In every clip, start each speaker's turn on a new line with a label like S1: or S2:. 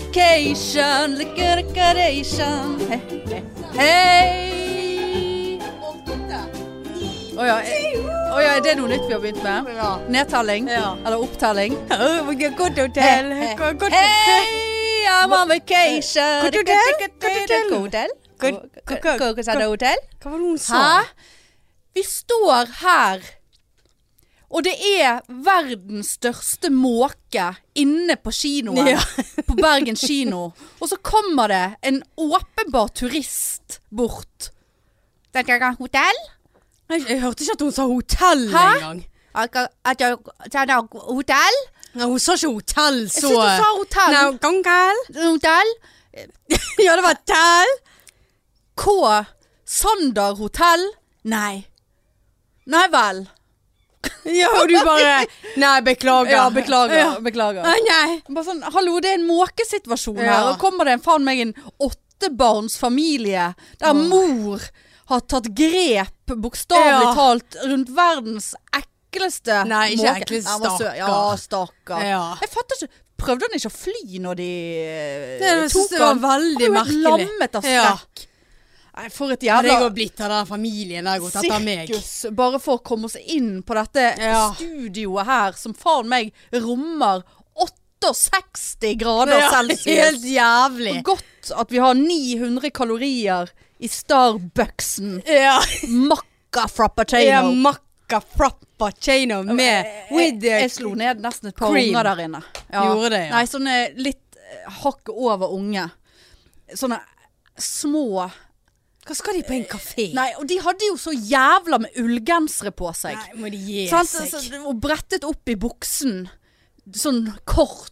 S1: vacation, liquidation, hei, hei, hei. Å ja, eh, å ja, er det noe nytt vi har begynt med?
S2: Ja.
S1: Nedtelling?
S2: Ja.
S1: Eller opptelling?
S2: Oh, we can go to hotel.
S1: Hei,
S2: Go- go to-
S1: Hei, I'm on vacation.
S2: Go to hotel?
S1: Go to hotel?
S2: Go-
S1: Go-
S2: go-
S1: go- go- go- go- hotel?
S2: Hva var det hun sa?
S1: Hæ? Sånn. Vi står her, og det er verdens største måke inne på kinoen.
S2: Ja.
S1: på Bergen kino. Og så kommer det en åpenbar turist bort. Hotell?
S2: Jeg, jeg hørte ikke at hun sa hotell
S1: Hæ?
S2: engang.
S1: Altså, Hotell?
S2: Nei, Hun sa ikke hotell,
S1: Jeg
S2: så
S1: synes du sa hotell.
S2: Nei, gangel.
S1: hotell.
S2: Ja, det var hotell.
S1: K. Sander hotell? Nei. Nei vel.
S2: Ja, og du bare Nei, beklager.
S1: Ja, beklager.
S2: Ja.
S1: beklager.
S2: Nei, nei.
S1: Bare sånn, hallo, det er en måkesituasjon her.
S2: Ja.
S1: Og kommer det en faen meg en åttebarnsfamilie der mor har tatt grep, bokstavelig
S2: Ja.
S1: talt, rundt verdens ekleste
S2: Nei, ikke
S1: måke.
S2: ekle,
S1: Nei, han var sø- Ja, stakkar.
S2: Ja.
S1: Jeg fatter ikke Prøvde han ikke å fly når de eh,
S2: Det, jeg synes det var
S1: han?
S2: veldig
S1: Han var jo helt
S2: merkelig.
S1: lammet av
S2: Ja.
S1: skrekk. Nei, for et
S2: Hadde
S1: jævla
S2: jeg jo blitt av den familien der gått etter meg.
S1: sirkus bare for å komme oss inn på dette
S2: Ja.
S1: studioet her, som faen meg rommer 68 grader
S2: Ja,
S1: celsius.
S2: Helt jævlig.
S1: Og godt at vi har 900 kalorier i Starbucksen.
S2: Ja.
S1: Macca
S2: ja
S1: frappuccino.
S2: Macca frappuccino med with the
S1: jeg slo ned nesten et par
S2: eh, cream.
S1: unger der inne.
S2: Gjorde det, ja.
S1: Nei, sånne litt eh, hakk over unge. Sånne små Eh,
S2: Hva skal de på en kafé?
S1: Nei, og de hadde jo så jævla med ullgensere på seg.
S2: Nei, må de gi
S1: Sant?
S2: seg.
S1: Altså, og brettet opp i buksen. Sånn kort.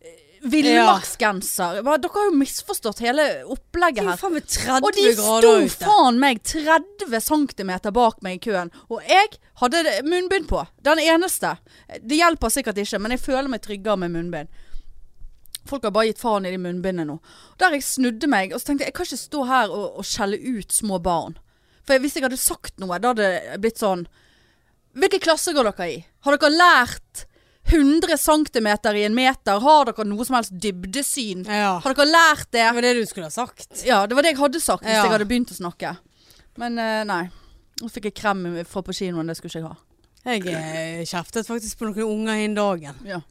S1: eh, Villmarksgenser. Bare, Dere har jo misforstått hele
S2: Det
S1: opplegget
S2: er jo
S1: her.
S2: faen meg 30
S1: Og de sto
S2: grader ute.
S1: faen meg 30 cm bak meg i køen. Og jeg hadde det- munnbind på. Den eneste. Det hjelper sikkert ikke, men jeg føler meg tryggere med munnbind. Folk har bare gitt faen i de munnbindene nå. Der jeg snudde meg, og så tenkte jeg jeg kan ikke stå her og, og skjelle ut små barn. For jeg- hvis jeg hadde sagt noe, da hadde det blitt sånn Hvilke klasser går dere i? Har dere lært 100 cm i en meter? Har dere noe som helst dybdesyn?
S2: Ja.
S1: Har dere lært det?
S2: Det var det du skulle ha sagt.
S1: Ja, det var det jeg hadde sagt hvis
S2: Ja.
S1: jeg hadde begynt å snakke. Men eh, nei. Nå fikk jeg krem fra på kinoen, det skulle ikke jeg ha.
S2: Jeg eh, kjeftet faktisk på noen unger innen dagen.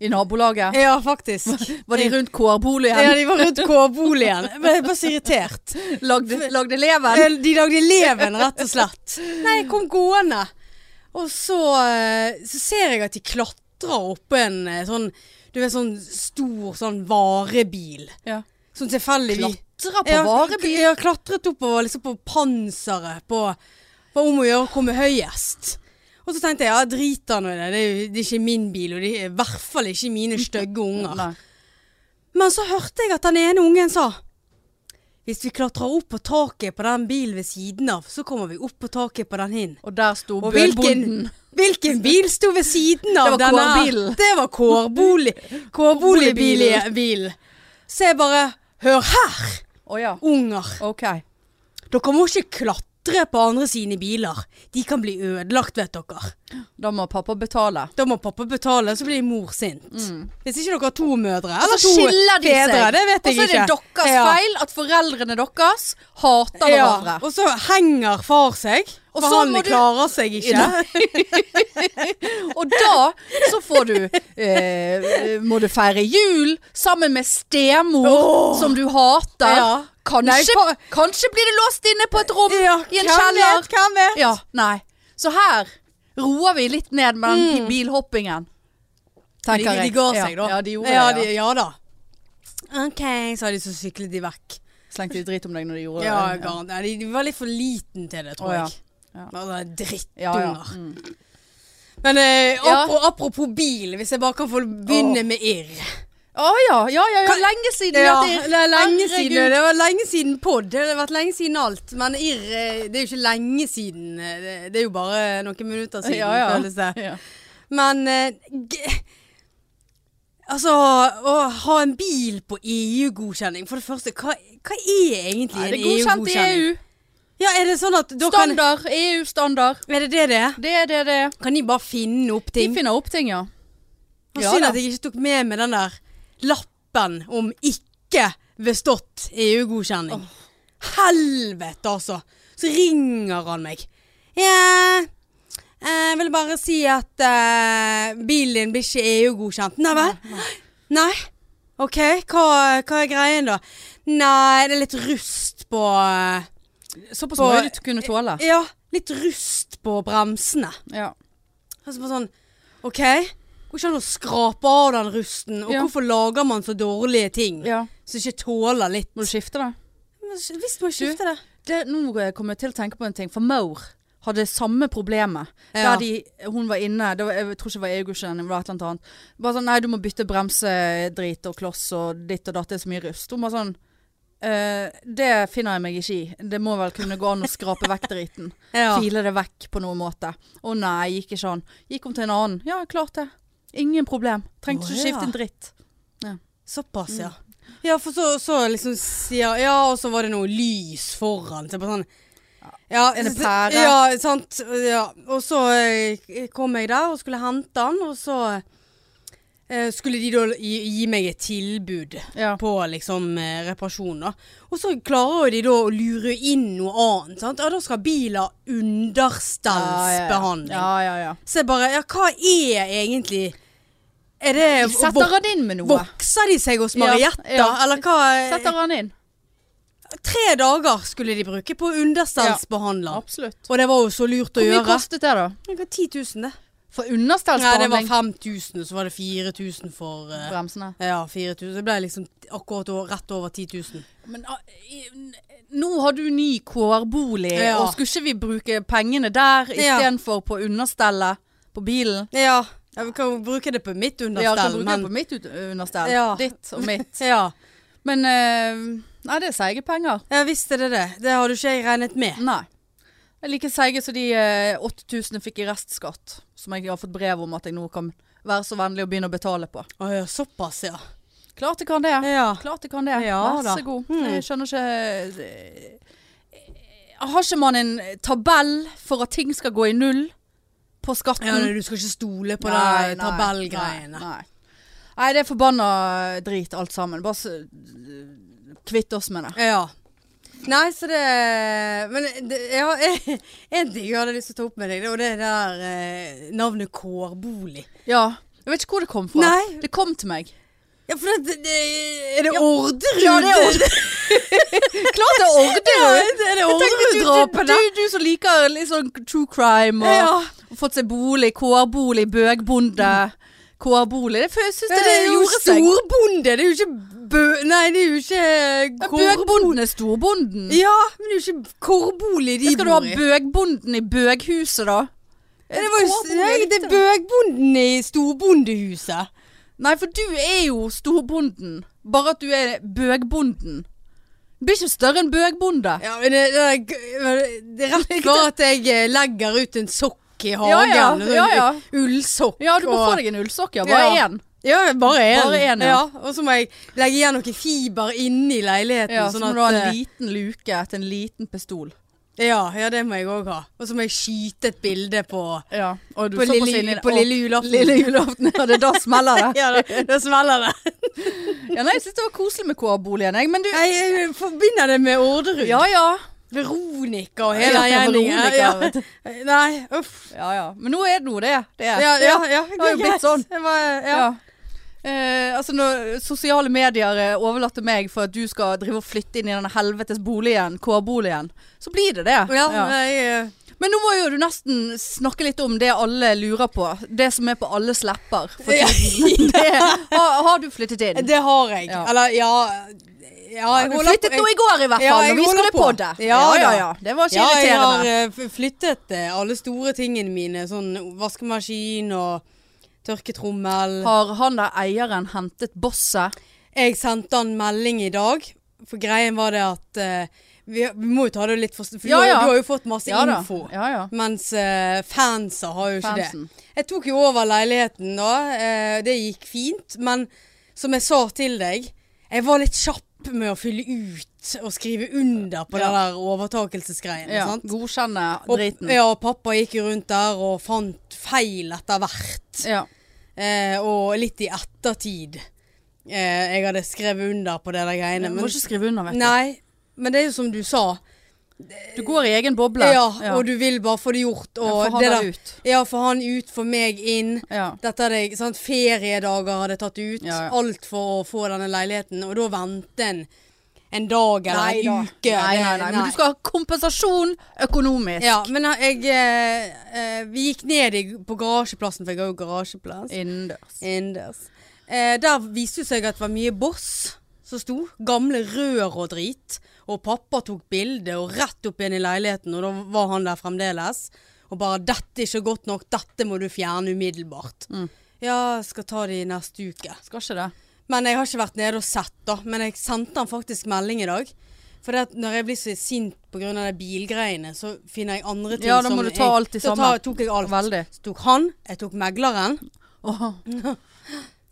S1: I nabolaget.
S2: Ja, faktisk.
S1: Var de rundt kårboligen?
S2: Ja, de var rundt K-boligen. Jeg ble bare så irritert.
S1: Lagde, lagde leven?
S2: Eh, De lagde leven, rett og slett. Nei, jeg kom gående. Og så, eh, så ser jeg at de klatrer oppå en eh, sånn Du vet, sånn stor sånn varebil.
S1: Ja.
S2: Sånn tilfeldigvis.
S1: Klatra på
S2: Ja,
S1: varebil.
S2: Jeg har klatret oppover liksom på panseret på hva om å gjøre å komme høyest. Og så tenkte jeg ja, drit han i det. Det er, jo- det er ikke min bil, og det er i hvert fall ikke mine stygge unger.
S1: Nei.
S2: Men så hørte jeg at den ene ungen sa Hvis vi klatrer opp på taket på den bilen ved siden av, så kommer vi opp på taket på den hin.
S1: Og der sto
S2: Og hvilken,
S1: bødbonden.
S2: hvilken bil sto ved siden
S1: Det
S2: av
S1: var
S2: denne?
S1: kårbilen.
S2: Det var kårbolig-
S1: Kårboligbilen.
S2: kårboligbilen. Så jeg bare Hør her,
S1: Å ja.
S2: unger.
S1: OK.
S2: Dere må ikke klatre på andre sine biler. De kan bli ødelagt, vet dere.
S1: Da må pappa betale.
S2: Da må pappa betale, så blir mor sint. Hvis ikke dere har to
S1: Mm.
S2: mødre
S1: Og
S2: eller
S1: så
S2: to
S1: Altså, skiller de
S2: fedre,
S1: seg.
S2: det vet
S1: Og
S2: jeg
S1: så er det
S2: ikke.
S1: deres
S2: Ja.
S1: feil at foreldrene deres hater
S2: Ja.
S1: hverandre.
S2: Og så henger far seg,
S1: Og
S2: for
S1: så
S2: han
S1: må du-
S2: klarer seg ikke.
S1: Og da så får du eh, Må du feire jul sammen med stemor
S2: Åh.
S1: som du hater.
S2: Ja. Nei,
S1: Kanskje,
S2: fa-
S1: kanskje blir det låst inne på et rom i en
S2: hvem
S1: kjeller.
S2: vet, hvem vet?
S1: Ja, nei. Så her roer vi litt ned med den bilhoppingen.
S2: De,
S1: Mm. Tenker
S2: de
S1: jeg.
S2: ga seg, da.
S1: Ja, ja de gjorde
S2: ja,
S1: det.
S2: de-
S1: Ja.
S2: ja da. OK, sa de, så syklet de vekk.
S1: Slengte de dritt om deg når de gjorde
S2: Ja,
S1: det?
S2: garant. Nei, De, de var litt for liten til det, tror
S1: Å, ja.
S2: jeg.
S1: Ja.
S2: Altså, Drittunger.
S1: Ja, ja. Mm.
S2: Men eh,
S1: Ja.
S2: apro- apropos bil, hvis jeg bare kan få begynne med irr.
S1: Å ja, ja, ja, ja.
S2: Kan-
S1: Lenge siden.
S2: Ja,
S1: vi har hatt
S2: det er lenge
S1: Herregud.
S2: siden. Det var lenge siden pod. Det har vært lenge siden alt. Men irr eh, det er jo ikke lenge siden. eh, Det, det er jo bare noen minutter siden,
S1: Ja, ja.
S2: føles det.
S1: Ja.
S2: Men eh, g Altså, å ha en bil på EU-godkjenning For det første, hva, hva er egentlig
S1: Er det
S2: en
S1: godkjent i
S2: EU-godkjenning?
S1: EU?
S2: Ja, er det sånn at da kan,
S1: Standard. EU-standard.
S2: Er det det det er?
S1: Det er det det er.
S2: Kan de bare finne opp
S1: De
S2: ting?
S1: finner opp ting, ja.
S2: Det var
S1: Ja
S2: Synd
S1: da.
S2: at jeg ikke tok med meg den der lappen lappen om ikke bestått EU-godkjenning. Helvete, altså! Så ringer han meg. Ja, jeg vil bare si at eh, bilen din blir ikke EU-godkjent. Nei vel? Nei. OK, hva, hva er greien da? Nei, det er litt rust på eh,
S1: Såpass
S2: På-
S1: mye du kunne tåle.
S2: Ja, litt rust på bremsene.
S1: Ja.
S2: Altså bare sånn OK. Går ikke an å skrape av den rusten. Og
S1: Ja.
S2: hvorfor lager man så dårlige ting
S1: ja.
S2: som ikke tåler litt
S1: Må du skifte, da?
S2: Men Hvis man skifter det.
S1: det, nå eh, kom jeg til å tenke på en ting, for Maur hadde samme problemet.
S2: Ja.
S1: Der de, hun var inne, det var, jeg tror ikke det var EU-godkjenning, det var et eller annet annet. Bare sånn, nei, du må bytte bremsedrit og kloss og ditt og datt, det er så mye rust. Hun var sånn, «Eh, det finner jeg meg ikke i. Det må vel kunne gå an å skrape vekk driten.
S2: Ja.
S1: File det vekk på noen måte. Å nei, gikk ikke sånn. Gikk om til en annen. Ja, klart det. Ingen problem. Trengte
S2: Å,
S1: ikke
S2: ja.
S1: skifte en dritt.
S2: Såpass, ja.
S1: Mm.
S2: Ja, for så, så liksom sier Ja, og så var det noe lys foran. Så jeg bare sånn ja,
S1: Er det
S2: så-
S1: pære?
S2: Ja, sant. Ja. Og så eh, kom jeg der og skulle hente han, og så eh, skulle de da gi, gi meg et tilbud
S1: Ja.
S2: på liksom eh, reparasjon, da. Og så klarer jo de da å lure inn noe annet. sant? Ja, da skal biler understellsbehandling.
S1: Ja, ja, ja.
S2: Så jeg bare Ja, hva er egentlig Er det
S1: Setter han inn med noe?
S2: Vokser de seg hos Marietta?
S1: Ja, ja.
S2: Eller hva? eh,
S1: Setter han inn?
S2: Tre dager skulle de bruke på å understellsbehandle han.
S1: Absolutt.
S2: Og det var jo så lurt å
S1: Hvor mye
S2: gjøre.
S1: kostet det, da?
S2: Det var 10 000, det.
S1: For
S2: Nei, det var
S1: understellsbehandling?
S2: 5000, så var det 4000 for eh,
S1: bremsene.
S2: Ja, 4000. Det ble liksom akkurat over, rett over 10 000.
S1: Men ah, i- n- nå har du ny kårbolig,
S2: Ja.
S1: og skulle ikke vi bruke pengene der
S2: Ja.
S1: istedenfor på understellet på bilen?
S2: Ja. ja. Vi kan jo bruke det på mitt
S1: Ja, kan
S2: understell,
S1: bruke det
S2: men
S1: på mitt ut- understell.
S2: Ja.
S1: Ditt og mitt.
S2: ja.
S1: Men eh, Nei, det er seige penger.
S2: ja, visst er det det. Det hadde jo ikke jeg regnet med.
S1: Nei. Det er like seige som de eh, 8000 jeg fikk i restskatt, som jeg har fått brev om at jeg nå kan være så vennlig å begynne å betale på.
S2: Å ja, såpass, ja.
S1: Klart jeg kan det.
S2: Ja.
S1: Klart det kan det.
S2: Ja
S1: Vær
S2: da.
S1: så god.
S2: Mm.
S1: Jeg skjønner ikke eh, Har ikke man en tabell for at ting skal gå i null på skatten?
S2: ja nei, du skal ikke stole på
S1: Nei,
S2: de
S1: nei,
S2: tabellgreiene.
S1: Nei, nei. nei, det er forbanna drit alt sammen. Bare så, kvitt oss med det.
S2: Ja. Nei, så det Men det, ja, en ting jeg hadde lyst til å ta opp med deg, det var det der eh, navnet Kårbolig.
S1: Ja. Jeg vet ikke hvor det kom fra.
S2: Nei.
S1: Det kom til meg.
S2: Ja, for det, det Er det
S1: Ja.
S2: Orderud?
S1: Ja, det er Orderud. Klart det er Orderud!
S2: Ja, er det
S1: Jeg tenkte, du, du,
S2: Orderud-drapene?
S1: du, du som liker litt sånn true crime og
S2: Ja.
S1: Og fått seg bolig, kårbolig, bøgbonde, kårbolig. Det, jeg synes
S2: Ja,
S1: det,
S2: det er jo
S1: gjorde seg.
S2: storbonde. Det er jo ikke bø... Nei, det er jo ikke Kårbolig.
S1: Bøgbonden er storbonden.
S2: Ja, men det er jo ikke Kårbolig de
S1: Skal du ha
S2: bor i.
S1: bøgbonden i bøghuset da?
S2: Ja, Det, var jo,
S1: Kårbolig,
S2: nei, det er bøgbonden i storbondehuset.
S1: Nei, for du er jo storbonden. Bare at du er bøgbonden. Du blir ikke større enn bøgbonde.
S2: Ja, men det, det, er g- men det er rett var at jeg eh, legger ut en sokk i
S1: Ja,
S2: hagen.
S1: ja,
S2: en sånn
S1: ja, ja.
S2: Ullsokk.
S1: Ja, du må
S2: og-
S1: få deg en ullsokk, ja. Bare
S2: Ja.
S1: én.
S2: Ja, bare én.
S1: Bare en, ja.
S2: ja. og så må jeg legge igjen noe fiber inni leiligheten.
S1: Ja, så
S2: sånn
S1: må
S2: at,
S1: du ha en
S2: eh,
S1: liten luke til en liten pistol.
S2: ja, ja, det må jeg òg ha. Og så må jeg skyte et bilde på,
S1: Ja, og du
S2: på,
S1: såpass
S2: lille,
S1: inn i det.
S2: på
S1: Å,
S2: lille julaften.
S1: lille julaften. Ja, det er da smeller det.
S2: ja, da, da smeller det.
S1: Ja, nei, jeg synes det var koselig med kårboligen, jeg. Men du
S2: Jeg, eh, forbinder det med Orderud.
S1: Ja ja.
S2: Veronica
S1: Ja,
S2: og hele
S1: ja,
S2: gjengen.
S1: Veronica, vet
S2: Nei, uff.
S1: ja, ja. Men nå er det nå det. det er.
S2: Ja, ja, ja,
S1: Det har jo blitt sånn.
S2: Det var-
S1: Ja.
S2: ja.
S1: Eh, altså når Sosiale medier eh, overlater meg for at du skal drive og flytte inn i den helvetes boligen, kårboligen, så blir det det.
S2: Ja,
S1: Ja.
S2: Jeg, eh,
S1: Men nå må jo du nesten snakke litt om det alle lurer på. Det som er på alles lepper. For
S2: Ja.
S1: tiden. det, har, har du flyttet inn?
S2: Det har jeg.
S1: Ja.
S2: Eller ja, ja jeg
S1: Du flyttet nå i går i hvert
S2: Ja,
S1: fall,
S2: jeg
S1: når vi
S2: holder
S1: skulle
S2: på.
S1: podde.
S2: Ja,
S1: ja,
S2: da.
S1: ja. Det var ikke
S2: ja, jeg har
S1: irriterende.
S2: eh, f- flyttet eh, alle store tingene mine. Sånn vaskemaskin og tørketrommel.
S1: Har han der eieren hentet bosset?
S2: Jeg sendte han melding i dag, for greien var det at eh, vi, vi må jo ta det litt for For
S1: Ja,
S2: du, har-
S1: ja.
S2: du har jo fått masse
S1: Ja da.
S2: info.
S1: Ja, ja.
S2: Mens eh, fansa har jo ikke
S1: Fansen.
S2: det. Jeg tok jo over leiligheten da. eh, det gikk fint. Men som jeg sa til deg, jeg var litt kjapp med å fylle ut og skrive under på
S1: Ja.
S2: den der overtakelsesgreien.
S1: Ja,
S2: sant?
S1: godkjenne
S2: Og,
S1: driten.
S2: ja, og pappa gikk jo rundt der og fant feil etter hvert.
S1: Ja.
S2: Eh, og litt i ettertid. eh, jeg hadde skrevet under på det der greiene.
S1: Du må
S2: Men,
S1: ikke skrive under, vet du.
S2: nei, men det er jo som du sa.
S1: Du går i egen boble.
S2: Ja, og du vil bare få det gjort. Og
S1: Ja, for han
S2: det
S1: er
S2: der-
S1: ut.
S2: Ja, for han ut, for meg inn.
S1: Ja.
S2: Dette hadde jeg, sant, Feriedager hadde jeg tatt ut.
S1: Ja, ja.
S2: Alt for å få denne leiligheten. Og da vente en, en dag eller
S1: Nei da.
S2: en uke.
S1: Nei, nei, nei. Men du skal ha kompensasjon økonomisk.
S2: Ja, men jeg, eh, eh, vi gikk ned i, på garasjeplassen, for jeg har jo garasjeplass.
S1: Innendørs.
S2: Innendørs. Eh, der viste det seg at det var mye boss som sto. Gamle rør og drit. Og pappa tok bilde og rett opp igjen i leiligheten, og da var han der fremdeles. Og bare 'dette er ikke godt nok, dette må du fjerne umiddelbart'.
S1: Mm.
S2: Ja, skal ta det i neste uke.
S1: Skal ikke det.
S2: Men jeg har ikke vært nede og sett, da. Men jeg sendte han faktisk melding i dag. For det at når jeg blir så sint pga. de bilgreiene, så finner jeg andre ting
S1: Ja, da må
S2: som
S1: du ta
S2: jeg,
S1: alt i
S2: Da
S1: samme.
S2: ta- tok jeg alt.
S1: Veldig.
S2: Så tok han, jeg tok megleren.
S1: Åh.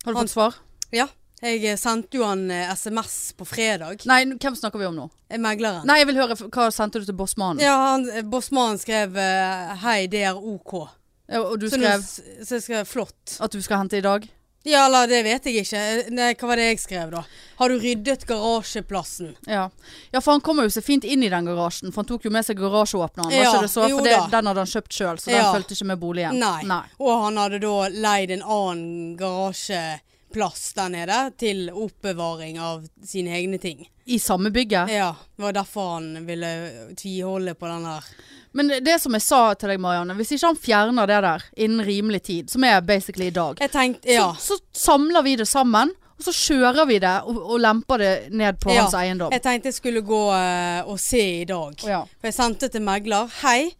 S1: Har du fått svar?
S2: Ja. Jeg eh, sendte jo han eh, SMS på fredag.
S1: Nei, nå- hvem snakker vi om nå?
S2: Eh, Megleren.
S1: Nei, jeg vil høre f- hva sendte du til bossmannen?
S2: Ja, han, eh, bossmannen skrev eh, 'hei, det er OK'.
S1: Ja, Og du
S2: så, nå
S1: skrev
S2: s- så jeg skrev 'flott'.
S1: at du skal hente i dag?
S2: Ja, eller det vet jeg ikke. Eh, Nei, hva var det jeg skrev, da? Har du ryddet garasjeplassen?
S1: Ja. ja, for han kommer jo så fint inn i den garasjen, for han tok jo med seg garasjeåpneren.
S2: Ja,
S1: var ikke det så?
S2: jo
S1: For det,
S2: da.
S1: den hadde han kjøpt sjøl, så den
S2: Ja.
S1: fulgte ikke med boligen.
S2: Nei.
S1: Nei.
S2: Og han hadde da leid en annen garasjeplass der nede til oppbevaring av sine egne ting.
S1: I samme bygget.
S2: Ja, det var derfor han ville tviholde på den her.
S1: Men det- det som jeg sa til deg, Marianne, hvis ikke han fjerner det der innen rimelig tid, som er basically i dag,
S2: Jeg tenkte, ja.
S1: så, så samler vi det sammen, og så kjører vi det og, og lemper det ned på
S2: ja.
S1: hans eiendom.
S2: Jeg tenkte jeg skulle gå eh, og se i dag.
S1: sånn. Ja.
S2: For jeg sendte til megler. Hei.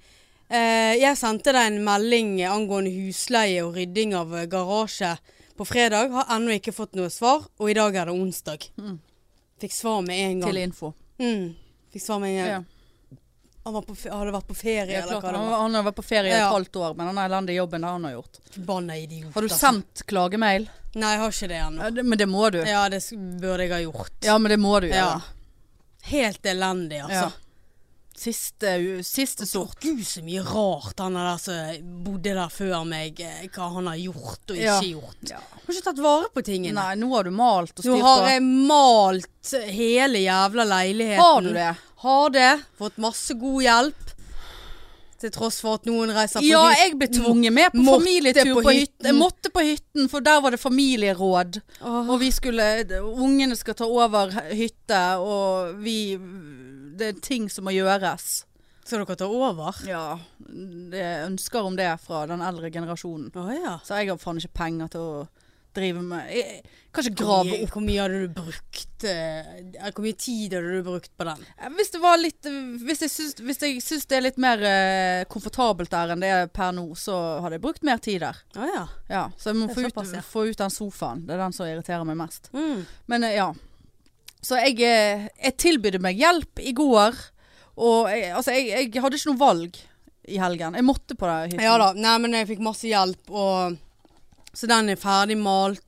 S2: eh, jeg sendte deg en melding angående husleie og rydding av eh, garasje på fredag. Har ennå ikke fått noe svar, og i dag er det onsdag. Fikk svar med en gang.
S1: Mm. Til info.
S2: Mm. Fikk svar med en gang.
S1: Ja.
S2: Han var på, fe- hadde vært på ferie,
S1: Ja,
S2: eller
S1: klart,
S2: hva det
S1: han,
S2: var.
S1: han har vært på ferie
S2: Ja.
S1: et halvt år med den elendige jobben der han har gjort.
S2: Forbanna idiot.
S1: Har du
S2: altså.
S1: sendt klagemail?
S2: Nei, jeg har ikke det ennå.
S1: Ja, det- Men det må du.
S2: Ja, det sk- burde jeg ha gjort.
S1: Ja, men det må du
S2: Ja.
S1: gjøre.
S2: Helt elendig,
S1: Ja.
S2: altså.
S1: Siste, u- siste sort.
S2: Gud, så mye rart han der som bodde der før meg, eh, hva han har gjort og ikke
S1: Ja.
S2: gjort. Han har ikke tatt vare på tingene.
S1: Nei, nå har du malt og
S2: Nå
S1: styrt
S2: har
S1: på.
S2: jeg malt hele jævla leiligheten.
S1: Har du det?
S2: Har det. Fått masse god hjelp. Til tross for at noen reiser på
S1: Ja,
S2: hytt-
S1: jeg ble tvunget med på
S2: Måtte
S1: familietur
S2: på
S1: på, hytten. Jeg
S2: hytten.
S1: måtte på hytten, for der var det familieråd.
S2: Åh.
S1: Og vi skulle d- Ungene skal ta over he- hytte, og vi Det er ting som må gjøres.
S2: Skal dere ta over?
S1: Ja. Det er ønsker om det fra den eldre generasjonen.
S2: Å ja.
S1: Så jeg har faen ikke penger til å drive med Jeg jeg kan ikke grave opp.
S2: Hvor mye hadde du brukt eh, Hvor mye tid hadde du brukt på den?
S1: Hvis det var litt eh, Hvis jeg syns, hvis jeg syns det er litt mer eh, komfortabelt der enn det er per nå, så hadde jeg brukt mer tid der.
S2: Å ja.
S1: Ja, så jeg må
S2: Det er
S1: få ut,
S2: såpass, ja.
S1: få ut den sofaen. Det er den som irriterer meg mest.
S2: Mm.
S1: Men eh, ja. Så jeg, eh, jeg tilbydde meg hjelp i går. Og jeg, altså, jeg, jeg hadde ikke noe valg i helgen. Jeg måtte på det hytten.
S2: Ja da. Nei, men jeg fikk masse hjelp, og Så den er ferdig malt,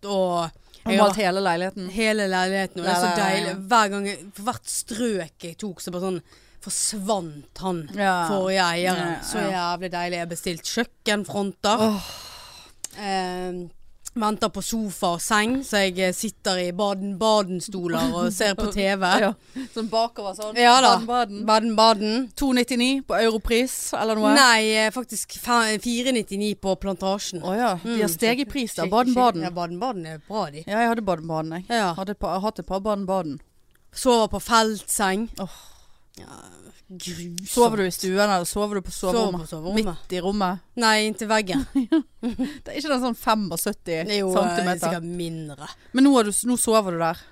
S1: Og
S2: og jeg har
S1: malt hele leiligheten.
S2: hele leiligheten, og det er
S1: Nei,
S2: så
S1: nei, nei.
S2: deilig. Hver gang jeg, For hvert strøk jeg tok, så bare sånn forsvant han
S1: Ja.
S2: forrige eieren.
S1: Ja,
S2: Så jævlig deilig. Jeg har bestilt kjøkkenfronter. Eh, venter på sofa og seng, så jeg eh, sitter i Baden-Baden-stoler og ser på TV.
S1: Ja. Sånn bakover sånn.
S2: Ja da.
S1: Baden-baden.
S2: Baden-Baden.
S1: 299 på europris eller noe?
S2: Nei, eh, faktisk fe- 499 på Plantasjen.
S1: Å ja. De har steget i pris der. Baden-Baden.
S2: Mm. Ja, Baden-Baden er bra, de.
S1: Ja, jeg hadde Baden-Baden, jeg.
S2: Ja.
S1: Hadde et par, jeg har hatt et par Baden-Baden.
S2: Sover på feltseng.
S1: Åh.
S2: Ja, grusomt.
S1: Sover du i stuen, eller sover du på
S2: Sover på
S1: soverommet?
S2: soverommet?
S1: Midt i rommet?
S2: Nei, inntil veggen.
S1: Det er ikke den sånn 75
S2: Det er jo eh,
S1: centimeter.
S2: sikkert mindre.
S1: Men nå, er du, nå sover du der.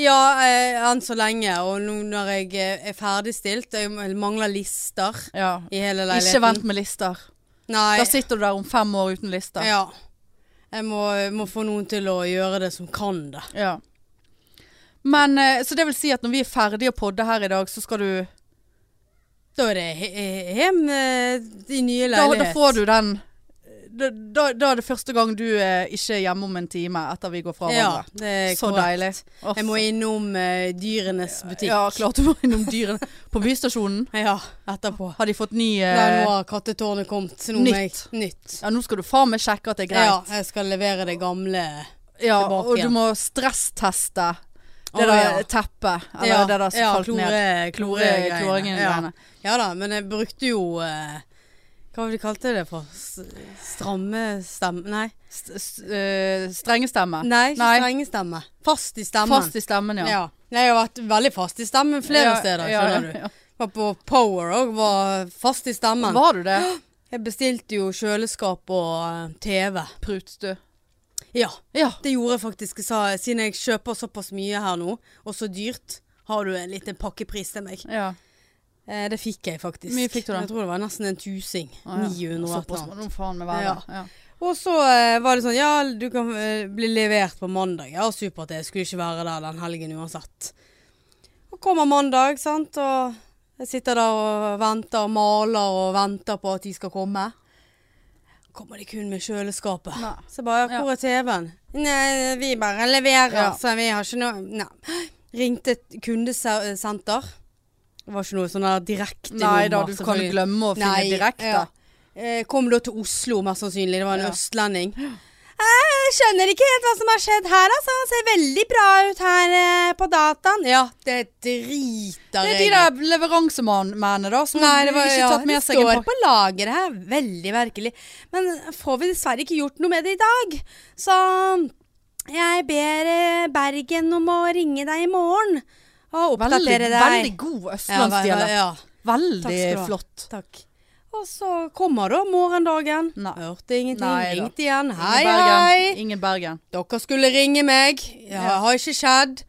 S2: Ja, eh, enn så lenge. Og nå når jeg eh, er ferdigstilt Jeg mangler lister
S1: Ja.
S2: i hele
S1: Ikke vent
S2: leiligheten.
S1: med lister.
S2: Nei.
S1: Da sitter du der om fem år uten lister.
S2: Ja. Jeg må, må få noen til å gjøre det som kan det.
S1: Ja. Men, eh, så det vil si at når vi er ferdige å podde her i dag, så skal du
S2: Da er det he- he- hjem eh, i nye
S1: da,
S2: leilighet.
S1: da får du den da, da, da er det første gang du eh, ikke er hjemme om en time etter vi går fra
S2: Ja,
S1: hverandre.
S2: det er
S1: så
S2: korrekt.
S1: deilig. Åh,
S2: Jeg må innom eh, dyrenes butikk.
S1: Ja, klart du må innom dyrene. På Bystasjonen
S2: Ja, etterpå.
S1: har de fått ny eh,
S2: Nei, nå har kattetårnet kommet. Så nå må jeg-
S1: nytt.
S2: Nytt.
S1: Ja, nå skal du faen meg sjekke at det er greit.
S2: Ja, jeg skal levere det gamle
S1: ja,
S2: tilbake
S1: og du
S2: igjen.
S1: må stressteste det
S2: Å,
S1: der
S2: ja.
S1: teppet. Eller
S2: ja,
S1: det der som
S2: ja,
S1: falt ned.
S2: klore,
S1: Klore-
S2: kloregreiene.
S1: kloringen i
S2: ja.
S1: greiene.
S2: ja da, men jeg brukte jo eh, Hva var det de kalte det for? S- Stramme stemme Nei,
S1: St st eh, strenge stemme.
S2: Nei ikke
S1: Nei.
S2: strenge stemme. Fast i stemmen.
S1: Fast i stemmen, ja.
S2: ja. Nei, jeg har vært veldig fast i stemmen
S1: Ja,
S2: flere steder,
S1: ja,
S2: skjønner
S1: ja.
S2: du. Var på Power òg, var fast i stemmen.
S1: Var du det?
S2: Jeg bestilte jo kjøleskap og eh, TV.
S1: Prutstø.
S2: Ja,
S1: Ja.
S2: det gjorde jeg faktisk. Jeg sa, siden jeg kjøper såpass mye her nå, og så dyrt, har du en liten pakkepris til meg.
S1: ja.
S2: Eh, det fikk jeg faktisk.
S1: Mye fikk du da?
S2: Jeg tror det var nesten en tusing.
S1: Å, ja.
S2: 900 og et
S1: Såpass
S2: eller
S1: må
S2: annet.
S1: du faen meg være. Ja.
S2: Og så eh, var det sånn, ja, du kan eh, bli levert på mandag. Ja, supert, jeg skulle ikke være der den helgen uansett. Og kommer mandag, sant, og jeg sitter der og venter og maler og venter på at de skal komme. Kommer de kun med kjøleskapet.
S1: Nei.
S2: Så jeg bare, ja, hvor er TV-en? Nei, vi bare leverer,
S1: Ja.
S2: så vi har ikke noe... Nei. Ringte et kundesenter. Det var ikke noe sånn der direkte nummer.
S1: Nei da, du kan
S2: selvfølgelig.
S1: glemme å finne
S2: Nei,
S1: direkte.
S2: ja. Eh, Kom da til Oslo, mest sannsynlig. Det var en
S1: Ja.
S2: østlending. Jeg skjønner ikke helt hva som har skjedd her, altså. Han ser veldig bra ut her eh, på dataen. Ja, det driter
S1: Det er de
S2: i.
S1: der leveransemennene, da, som
S2: Nei, det var,
S1: ikke
S2: ja,
S1: tatt med
S2: det
S1: seg en
S2: står
S1: pakke.
S2: på lageret her. Veldig merkelig. Men får vi dessverre ikke gjort noe med det i dag. Så jeg ber eh, Bergen om å ringe deg i morgen og
S1: Veldig,
S2: oppdatere deg.
S1: veldig god
S2: Ja, ve- ve-
S1: østlandsdialekt.
S2: ja.
S1: Veldig
S2: Takk skal du ha.
S1: flott.
S2: Takk. Og så kommer da morgendagen.
S1: Nei.
S2: Hørte ingenting.
S1: Nei da.
S2: Ringte igjen.
S1: Ingen
S2: Hei,
S1: Bergen.
S2: hei.
S1: Ingen Bergen.
S2: Dere skulle ringe meg. Ja,
S1: Ja.
S2: har ikke skjedd.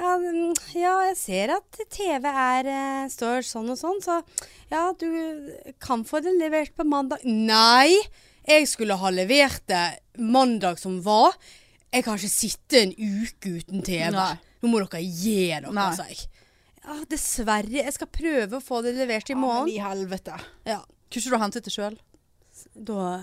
S2: Ja, mm, ja, jeg ser at TV er eh, står sånn og sånn, så ja, du kan få det levert på mandag. Nei, jeg skulle ha levert det mandag som var. Jeg kan ikke sitte en uke uten TV.
S1: Nei.
S2: Nå må dere gi dere, altså.
S1: Nei.
S2: sa jeg. Ja, dessverre. Jeg skal prøve å få det levert i
S1: Ja, men
S2: morgen.
S1: I helvete.
S2: Ja,
S1: Kunne ikke du hentet det sjøl?
S2: da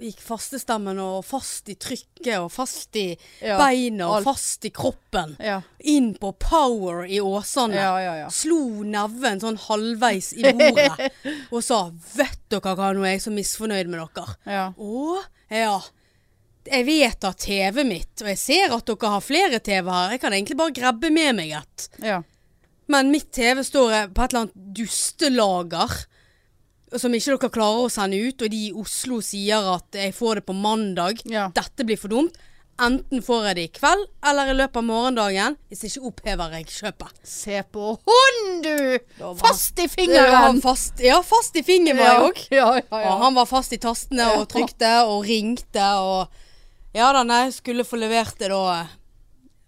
S2: gikk fastestemmen og fast i trykket og fast i
S1: Ja,
S2: beina og
S1: alt.
S2: fast i kroppen.
S1: Ja.
S2: Inn på power i Åsane.
S1: Ja, ja, ja.
S2: Slo neven sånn halvveis i bordet og sa 'Vet dere hva, nå er jeg så misfornøyd med dere'.
S1: ja.
S2: Å, ja. Jeg vet at TV mitt, og jeg ser at dere har flere TV her, jeg kan egentlig bare grabbe med meg et.
S1: ja.
S2: Men mitt TV står eh, på et eller annet dustelager som ikke dere klarer å sende ut, og de i Oslo sier at jeg får det på mandag.
S1: Ja.
S2: Dette blir for dumt. Enten får jeg det i kveld, eller i løpet av morgendagen. Hvis ikke opphever jeg kjøpet.
S1: Se på hunden, du!
S2: var-
S1: Fast i
S2: Det var
S1: fingeren!
S2: Fast, ja, fast i fingeren var jeg òg.
S1: Ja, ja, ja.
S2: Og han var fast i tastene og
S1: Ja.
S2: trykte og ringte og Ja da, nei, skulle få levert det da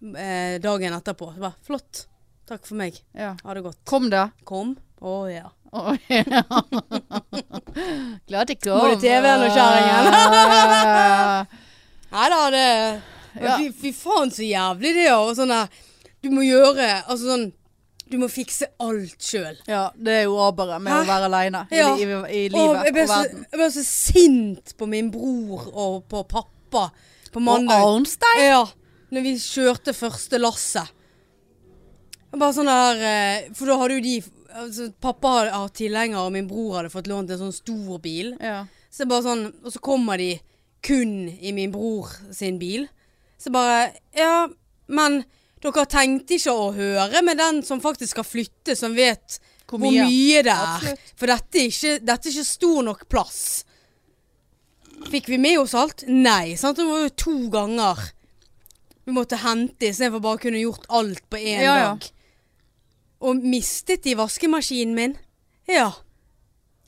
S2: eh, dagen etterpå. Det var flott. Takk for meg.
S1: ja.
S2: Ha det godt.
S1: Kom det?
S2: Kom. Å ja.
S1: Å, ja. Glad det kom.
S2: Både TV-en og
S1: kjerringen.
S2: Nei da, det
S1: Ja.
S2: Men Fy, fy faen så jævlig det er. Og sånn der Du må gjøre Altså sånn Du må fikse alt sjøl.
S1: ja, det er jo aberet med å
S2: Hæ?
S1: være aleine i,
S2: Ja.
S1: li- i, i
S2: Og
S1: livet
S2: jeg
S1: og
S2: ble, så,
S1: verden.
S2: jeg ble så sint på min bror og på pappa på
S1: Og
S2: mandag.
S1: Arnstein!
S2: Ja, når vi kjørte første lasset. Og Bare sånn der eh, For da hadde jo de altså, Pappa har- har tilhenger, og min bror hadde fått lånt en sånn stor bil.
S1: Ja.
S2: Så bare sånn, og så kommer de kun i min bror sin bil. Så bare, ja, men dere tenkte ikke å høre med den som faktisk skal flytte, som vet
S1: Hvor
S2: hvor
S1: mye.
S2: mye, det er.
S1: Absolutt.
S2: For dette er, ikke, dette er ikke stor nok plass. Fikk vi med oss alt? Nei, sant? Det var jo to ganger vi måtte hente istedenfor bare å kunne gjort alt på én
S1: Ja, ja.
S2: dag. Og mistet de vaskemaskinen min? Ja.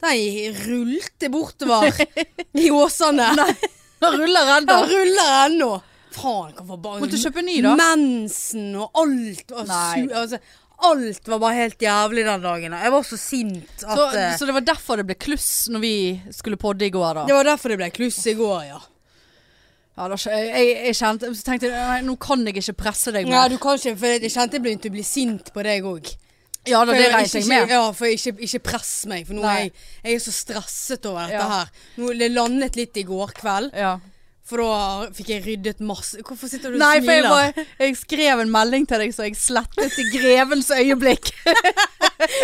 S2: Den rullte bortover i Åsane.
S1: Han ruller ennå.
S2: Den ruller ennå. Faen, hva for barn.
S1: Måtte kjøpe ny, da.
S2: Mensen og alt var
S1: Nei.
S2: su... Altså, alt var bare helt jævlig den dagen. Jeg var så sint at
S1: Så,
S2: eh,
S1: så det var derfor det ble kluss når vi skulle podde i går, da.
S2: Det var derfor det ble kluss i går, ja.
S1: Ja, da skj- jeg, jeg kjente, så tenkte jeg nei, nå kan jeg ikke presse deg
S2: Nei,
S1: mer.
S2: du kan ikke, for jeg kjente jeg begynte å bli sint på deg òg.
S1: Ja da, det
S2: For
S1: regnet jeg
S2: ikke-
S1: med.
S2: Ja, for ikke, ikke press meg, for nå
S1: Nei.
S2: er jeg, jeg er så stresset over dette
S1: Ja.
S2: her. Nå, det landet litt i går kveld.
S1: Ja.
S2: For da fikk jeg ryddet masse Hvorfor sitter du og
S1: Nei, for jeg,
S2: smiler?
S1: bare, jeg skrev en melding til deg, så jeg slettet i grevens øyeblikk.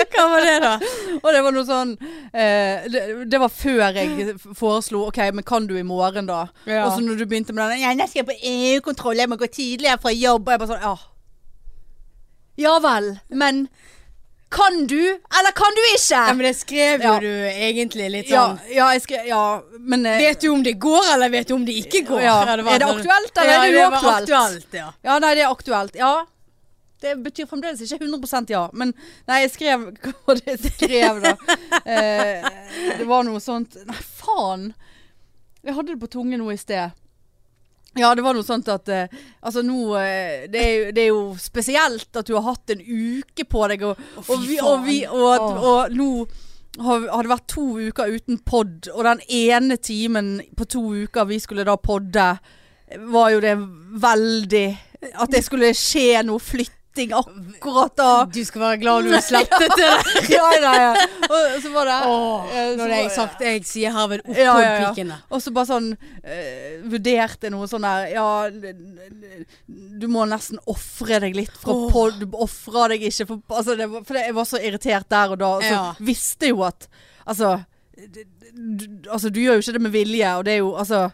S1: Hva var det, da? Og det var noe sånn eh, det, det var før jeg foreslo OK, men kan du i morgen, da?
S2: Ja.
S1: Og så når du begynte med den Ja, jeg skal på EU-kontroll, jeg må gå tidligere fra jobb. Og jeg bare sånn Ja. Ja vel, men kan du, eller kan du ikke?
S2: Ja, men det skrev jo
S1: Ja.
S2: du egentlig litt
S1: Ja,
S2: sånn
S1: ja, jeg skrev Ja, men eh,
S2: Vet du om det går, eller vet du om det ikke går?
S1: Ja.
S2: Hadde vært
S1: Er det
S2: noe-
S1: aktuelt, eller
S2: ja,
S1: er det
S2: var
S1: uaktuelt?
S2: aktuelt ja.
S1: Ja, nei, det er aktuelt. Ja. Det betyr fremdeles ikke 100 ja. Men nei, jeg skrev Hva var det jeg skrev, da? Eh, det var noe sånt Nei, faen! Jeg hadde det på tungen nå i sted. Ja, det var noe sånt at eh, Altså nå eh, det, er jo, det er jo spesielt at du har hatt en uke på deg, og,
S2: fy
S1: og, vi, og, vi, og, at,
S2: faen.
S1: og nå har, har det vært to uker uten pod, og den ene timen på to uker vi skulle da podde, var jo det veldig At det skulle skje noe flytting akkurat da.
S2: Du skal være glad du slettet det.
S1: Ja, ja, ja. Og så var det
S2: Åh,
S1: eh, så
S2: Nå har
S1: var-
S2: jeg sagt jeg sier herved oppå
S1: Ja, ja, ja.
S2: pikene.
S1: Og så bare sånn eh, vurderte noe sånn der Ja, du må nesten ofre deg litt fra
S2: Åh.
S1: pod. Du ofrer deg ikke for altså det, var- For det, jeg var så irritert der og da. Og så
S2: Ja.
S1: visste jo at Altså d- d- Altså, du gjør jo ikke det med vilje, og det er jo altså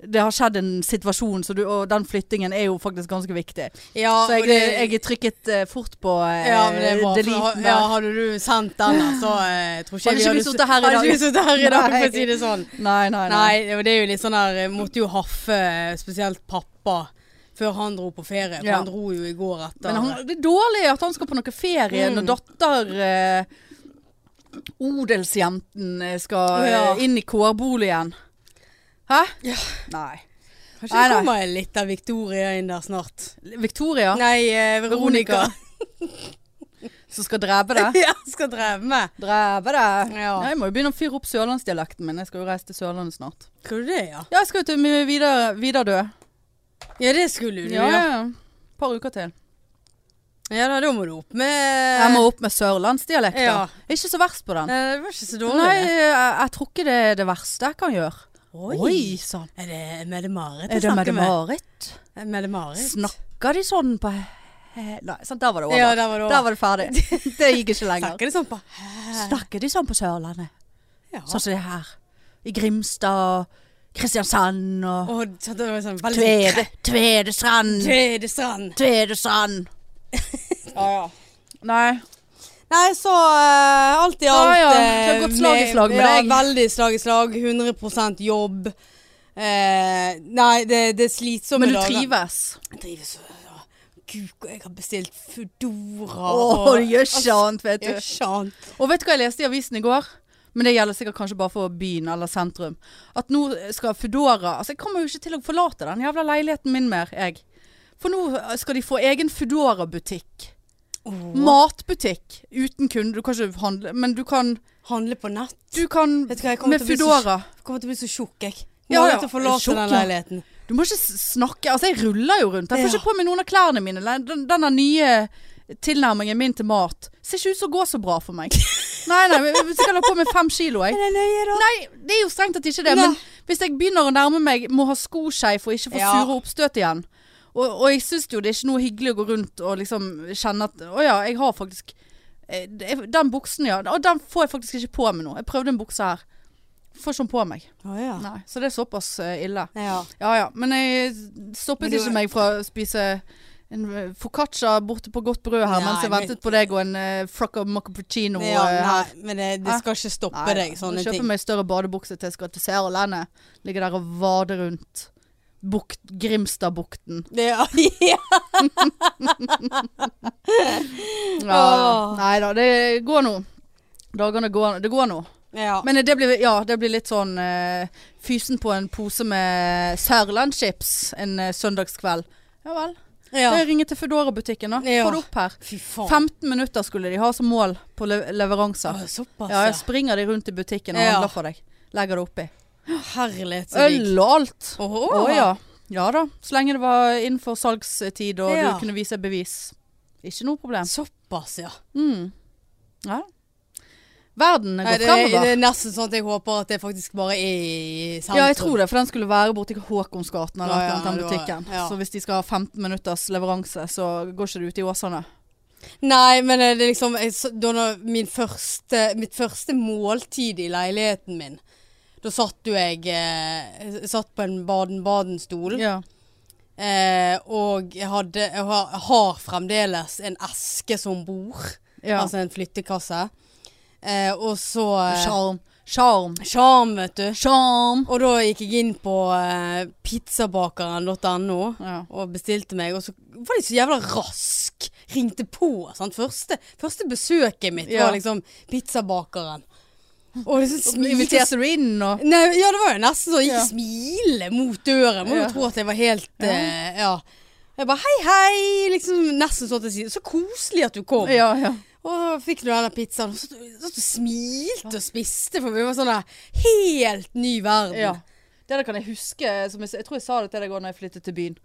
S1: det har skjedd en situasjon, så du, og den flyttingen er jo faktisk ganske viktig.
S2: Ja,
S1: Så jeg,
S2: og det-
S1: jeg trykket eh, fort på uh,
S2: ja, men det er bra. For,
S1: deleten
S2: ha-
S1: der.
S2: ja, hadde du sendt den, da, så eh, tror ikke
S1: Hadde ikke vi
S2: s-
S1: suttet her i dag.
S2: Hadde ikke vi sittet her i dag, for
S1: Nei.
S2: å si det sånn.
S1: Nei, nei, nei.
S2: Nei, det- og det er jo litt sånn der eh, Måtte jo haffe eh, spesielt pappa før han dro på ferie. For
S1: Ja.
S2: han dro jo i går etter.
S1: Men han, det er dårlig at han skal på noe ferie
S2: Mm.
S1: når datter eh, Odelsjenten eh, skal eh,
S2: Ja.
S1: inn i kårboligen. Hæ?
S2: Ja.
S1: Nei.
S2: Kanskje
S1: Nei,
S2: det
S1: nei.
S2: kommer en liten Victoria inn der snart.
S1: Victoria
S2: Nei, eh, Veronica.
S1: som skal drepe det.
S2: ja, skal dreve med.
S1: Drepe det.
S2: Ja.
S1: Jeg må jo begynne å fyre opp sørlandsdialekten min. Jeg skal jo reise til Sørlandet snart.
S2: Skal du det, ja?
S1: Ja, jeg skal jo til Mi- Vidar- Vidardø.
S2: Ja, det skulle du,
S1: Ja, ja. Et par uker til.
S2: Ja da, da må du opp med
S1: Jeg må opp med sørlandsdialekten.
S2: Eh. Ja.
S1: Ikke så verst på den.
S2: Nei, Eh, det var ikke så dårlig.
S1: Nei, jeg, jeg tror ikke det er det verste jeg kan gjøre.
S2: Oi.
S1: sann.
S2: Er det Mette-Marit
S1: Er
S2: jeg
S1: det
S2: snakker med?
S1: Mette-Marit?
S2: Er det Mette-Marit?
S1: Snakker de sånn på he- Nei, sant, der var det over.
S2: Ja, der var det over.
S1: Der var det ferdig. Det liksom. gikk ikke lenger.
S2: Snakker det sånn på Hæ?
S1: Snakker de sånn på Sørlandet?
S2: Ja.
S1: Sånn som det her. I Grimstad og Kristiansand og
S2: Og så det var sånn veldig
S1: Tvede, Tvedestrand.
S2: Tvedestrand.
S1: Tvedestrand.
S2: Ja, ja.
S1: Nei.
S2: Nei, så eh, alt i
S1: Ja,
S2: alt
S1: ja,
S2: eh,
S1: det har gått slag i slag med
S2: ja,
S1: deg.
S2: Veldig slag i slag. 100 jobb. Eh, nei, det, det er slitsomme
S1: Men du
S2: dager.
S1: trives?
S2: Jeg trives. ja. Gud, jeg har bestilt Foodora. Altså,
S1: Å, det gjør ikke annet, vet du.
S2: Gjør ikke annet.
S1: Og vet du hva jeg leste i avisen i går? Men det gjelder sikkert kanskje bare for byen eller sentrum. At nå skal Foodora Altså, jeg kommer jo ikke til å forlate den jævla leiligheten min mer, jeg. For nå skal de få egen Foodora-butikk. Matbutikk uten kunde. Du kan ikke handle, men du kan
S2: Handle på nett.
S1: Du kan
S2: Vet du hva, jeg kommer
S1: med
S2: til å bli så-
S1: Foodora.
S2: Jeg kommer til å bli så tjukk, jeg. Kommer
S1: Ja, ja,
S2: aldri til å forlate
S1: tjukk,
S2: den
S1: ja.
S2: leiligheten.
S1: Du må ikke s- snakke Altså, jeg ruller jo rundt. Jeg får
S2: Ja.
S1: ikke på meg noen av klærne mine. Le- Den, denne nye tilnærmingen min til mat ser ikke ut som å gå så bra for meg. nei, nei. men Hvis jeg kan ha på meg fem kilo, jeg.
S2: Er det nøye, da?
S1: Nei, det er jo strengt tatt ikke det.
S2: Nei.
S1: Men hvis jeg begynner å nærme meg, må ha skoskeiv for ikke å få
S2: Ja.
S1: sure oppstøt igjen. Og, og jeg syns jo det er ikke noe hyggelig å gå rundt og liksom kjenne at Å ja, jeg har faktisk eh, det- Den buksen, ja. Og den får jeg faktisk ikke på meg nå. Jeg prøvde en bukse her. Får ikke den på meg.
S2: Å ja.
S1: Nei, så det er såpass eh, ille.
S2: ja.
S1: Ja ja. Men jeg stoppet
S2: Men du-
S1: ikke meg fra å spise en eh, foccaccia borte på godt brød her
S2: Nei,
S1: mens jeg
S2: men-
S1: ventet på deg og en uh, frocka maccapuccino
S2: ja
S1: eh, her.
S2: nei, men det, det skal ikke stoppe
S1: Nei,
S2: deg, sånne
S1: Kjøpe
S2: ting.
S1: meg større badebukse til jeg skal til Sørlandet. Ligge der og vade rundt bukt, Grimstadbukten.
S2: Det, ja, ja.
S1: Ja.
S2: Mm. Åh.
S1: Nei da, det går nå. Dagene går, det går nå.
S2: ja.
S1: Men det blir, ja, det blir litt sånn eh, fysen på en pose med Sørlandschips en eh, søndagskveld. Ja vel.
S2: ja.
S1: Jeg ringer til Foodora-butikken, da.
S2: Ja.
S1: Få det opp her.
S2: Fy faen.
S1: 15 minutter skulle de ha som mål på le leveranser.
S2: Å, Såpass,
S1: altså. Ja,
S2: ja.
S1: jeg springer de rundt i butikken og
S2: altså. Ja.
S1: handler for deg. Legger det oppi.
S2: Herlighet, så digg.
S1: Øl og alt.
S2: Åh,
S1: Å ja. Ja da. Så lenge det var innenfor salgstid og
S2: Ja.
S1: du kunne vise bevis. Ikke noe problem.
S2: Såpass, ja.
S1: Mm. Ja. Mm. Verden
S2: Nei,
S1: går
S2: det, det
S1: fremover.
S2: er nesten sånn at jeg håper at det faktisk bare er i sentrum.
S1: Ja, jeg tror det, for den skulle være borti Håkonsgaten eller
S2: Ja, ja,
S1: noe annet, den
S2: det var-
S1: butikken.
S2: ja.
S1: Så hvis de skal ha 15 minutters leveranse, så går ikke det ut i Åsane.
S2: Nei, men eh, det er liksom jeg, s- da når min første, Mitt første måltid i leiligheten min Da satt jo jeg eh, Satt på en Baden-Baden-stol
S1: Ja.
S2: eh, Og jeg, hadde, jeg har, har fremdeles en eske som bor
S1: ja.
S2: Altså en flyttekasse eh, Og så eh,
S1: Sjarm. Sjarm.
S2: Charm, vet du
S1: Sjarm.
S2: Og da gikk jeg inn på eh, pizzabakeren.no
S1: Ja.
S2: og bestilte meg, og så var de så jævla rask. Ringte på. Sant? Første, første besøket mitt
S1: Ja.
S2: var liksom pizzabakeren. Og liksom smilete
S1: Inviterte du inn og
S2: Nei, ja, det var jo nesten sånn. Gikk
S1: Ja.
S2: smile mot døren. Må jo
S1: Ja.
S2: tro at jeg var helt
S1: Ja.
S2: eh, ja. Jeg bare hei, hei. Liksom nesten sånn at jeg sier Så koselig at du kom.
S1: Ja, ja.
S2: Og fikk du denne pizzaen. Og så satt du og smilte og spiste, for vi var sånn der helt ny verden.
S1: Ja. Det der kan jeg huske. eh, Som jeg, s- jeg tror jeg sa det til deg òg når jeg flyttet til byen.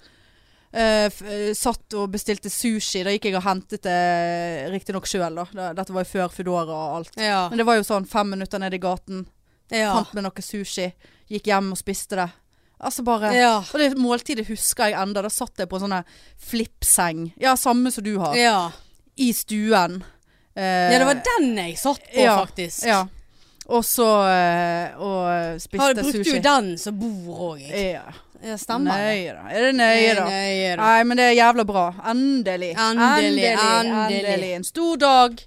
S1: Eh, f eh, satt og bestilte sushi. Da gikk jeg og hentet det riktignok sjøl, da. Da- Dette var jo før Foodora og alt.
S2: Ja.
S1: Men det var jo sånn fem minutter ned i gaten.
S2: Ja.
S1: Fant meg noe sushi. Gikk hjem og spiste det. Altså bare
S2: Ja.
S1: Og det måltidet husker jeg enda. Da satt jeg på en sånn her flippseng. Ja, samme som du har.
S2: ja.
S1: I stuen. Eh,
S2: Ja, det var den jeg satt på,
S1: ja,
S2: faktisk.
S1: Ja. Og så eh, og
S2: Har,
S1: spiste
S2: brukte
S1: sushi.
S2: jo den som bor òg, jeg.
S1: Ja.
S2: Ja, stemmer det.
S1: Nøye da. Er det nøye da?
S2: Nøye da.
S1: Nei, men det er jævla bra. Endelig.
S2: Endelig, endelig.
S1: endelig. En stor dag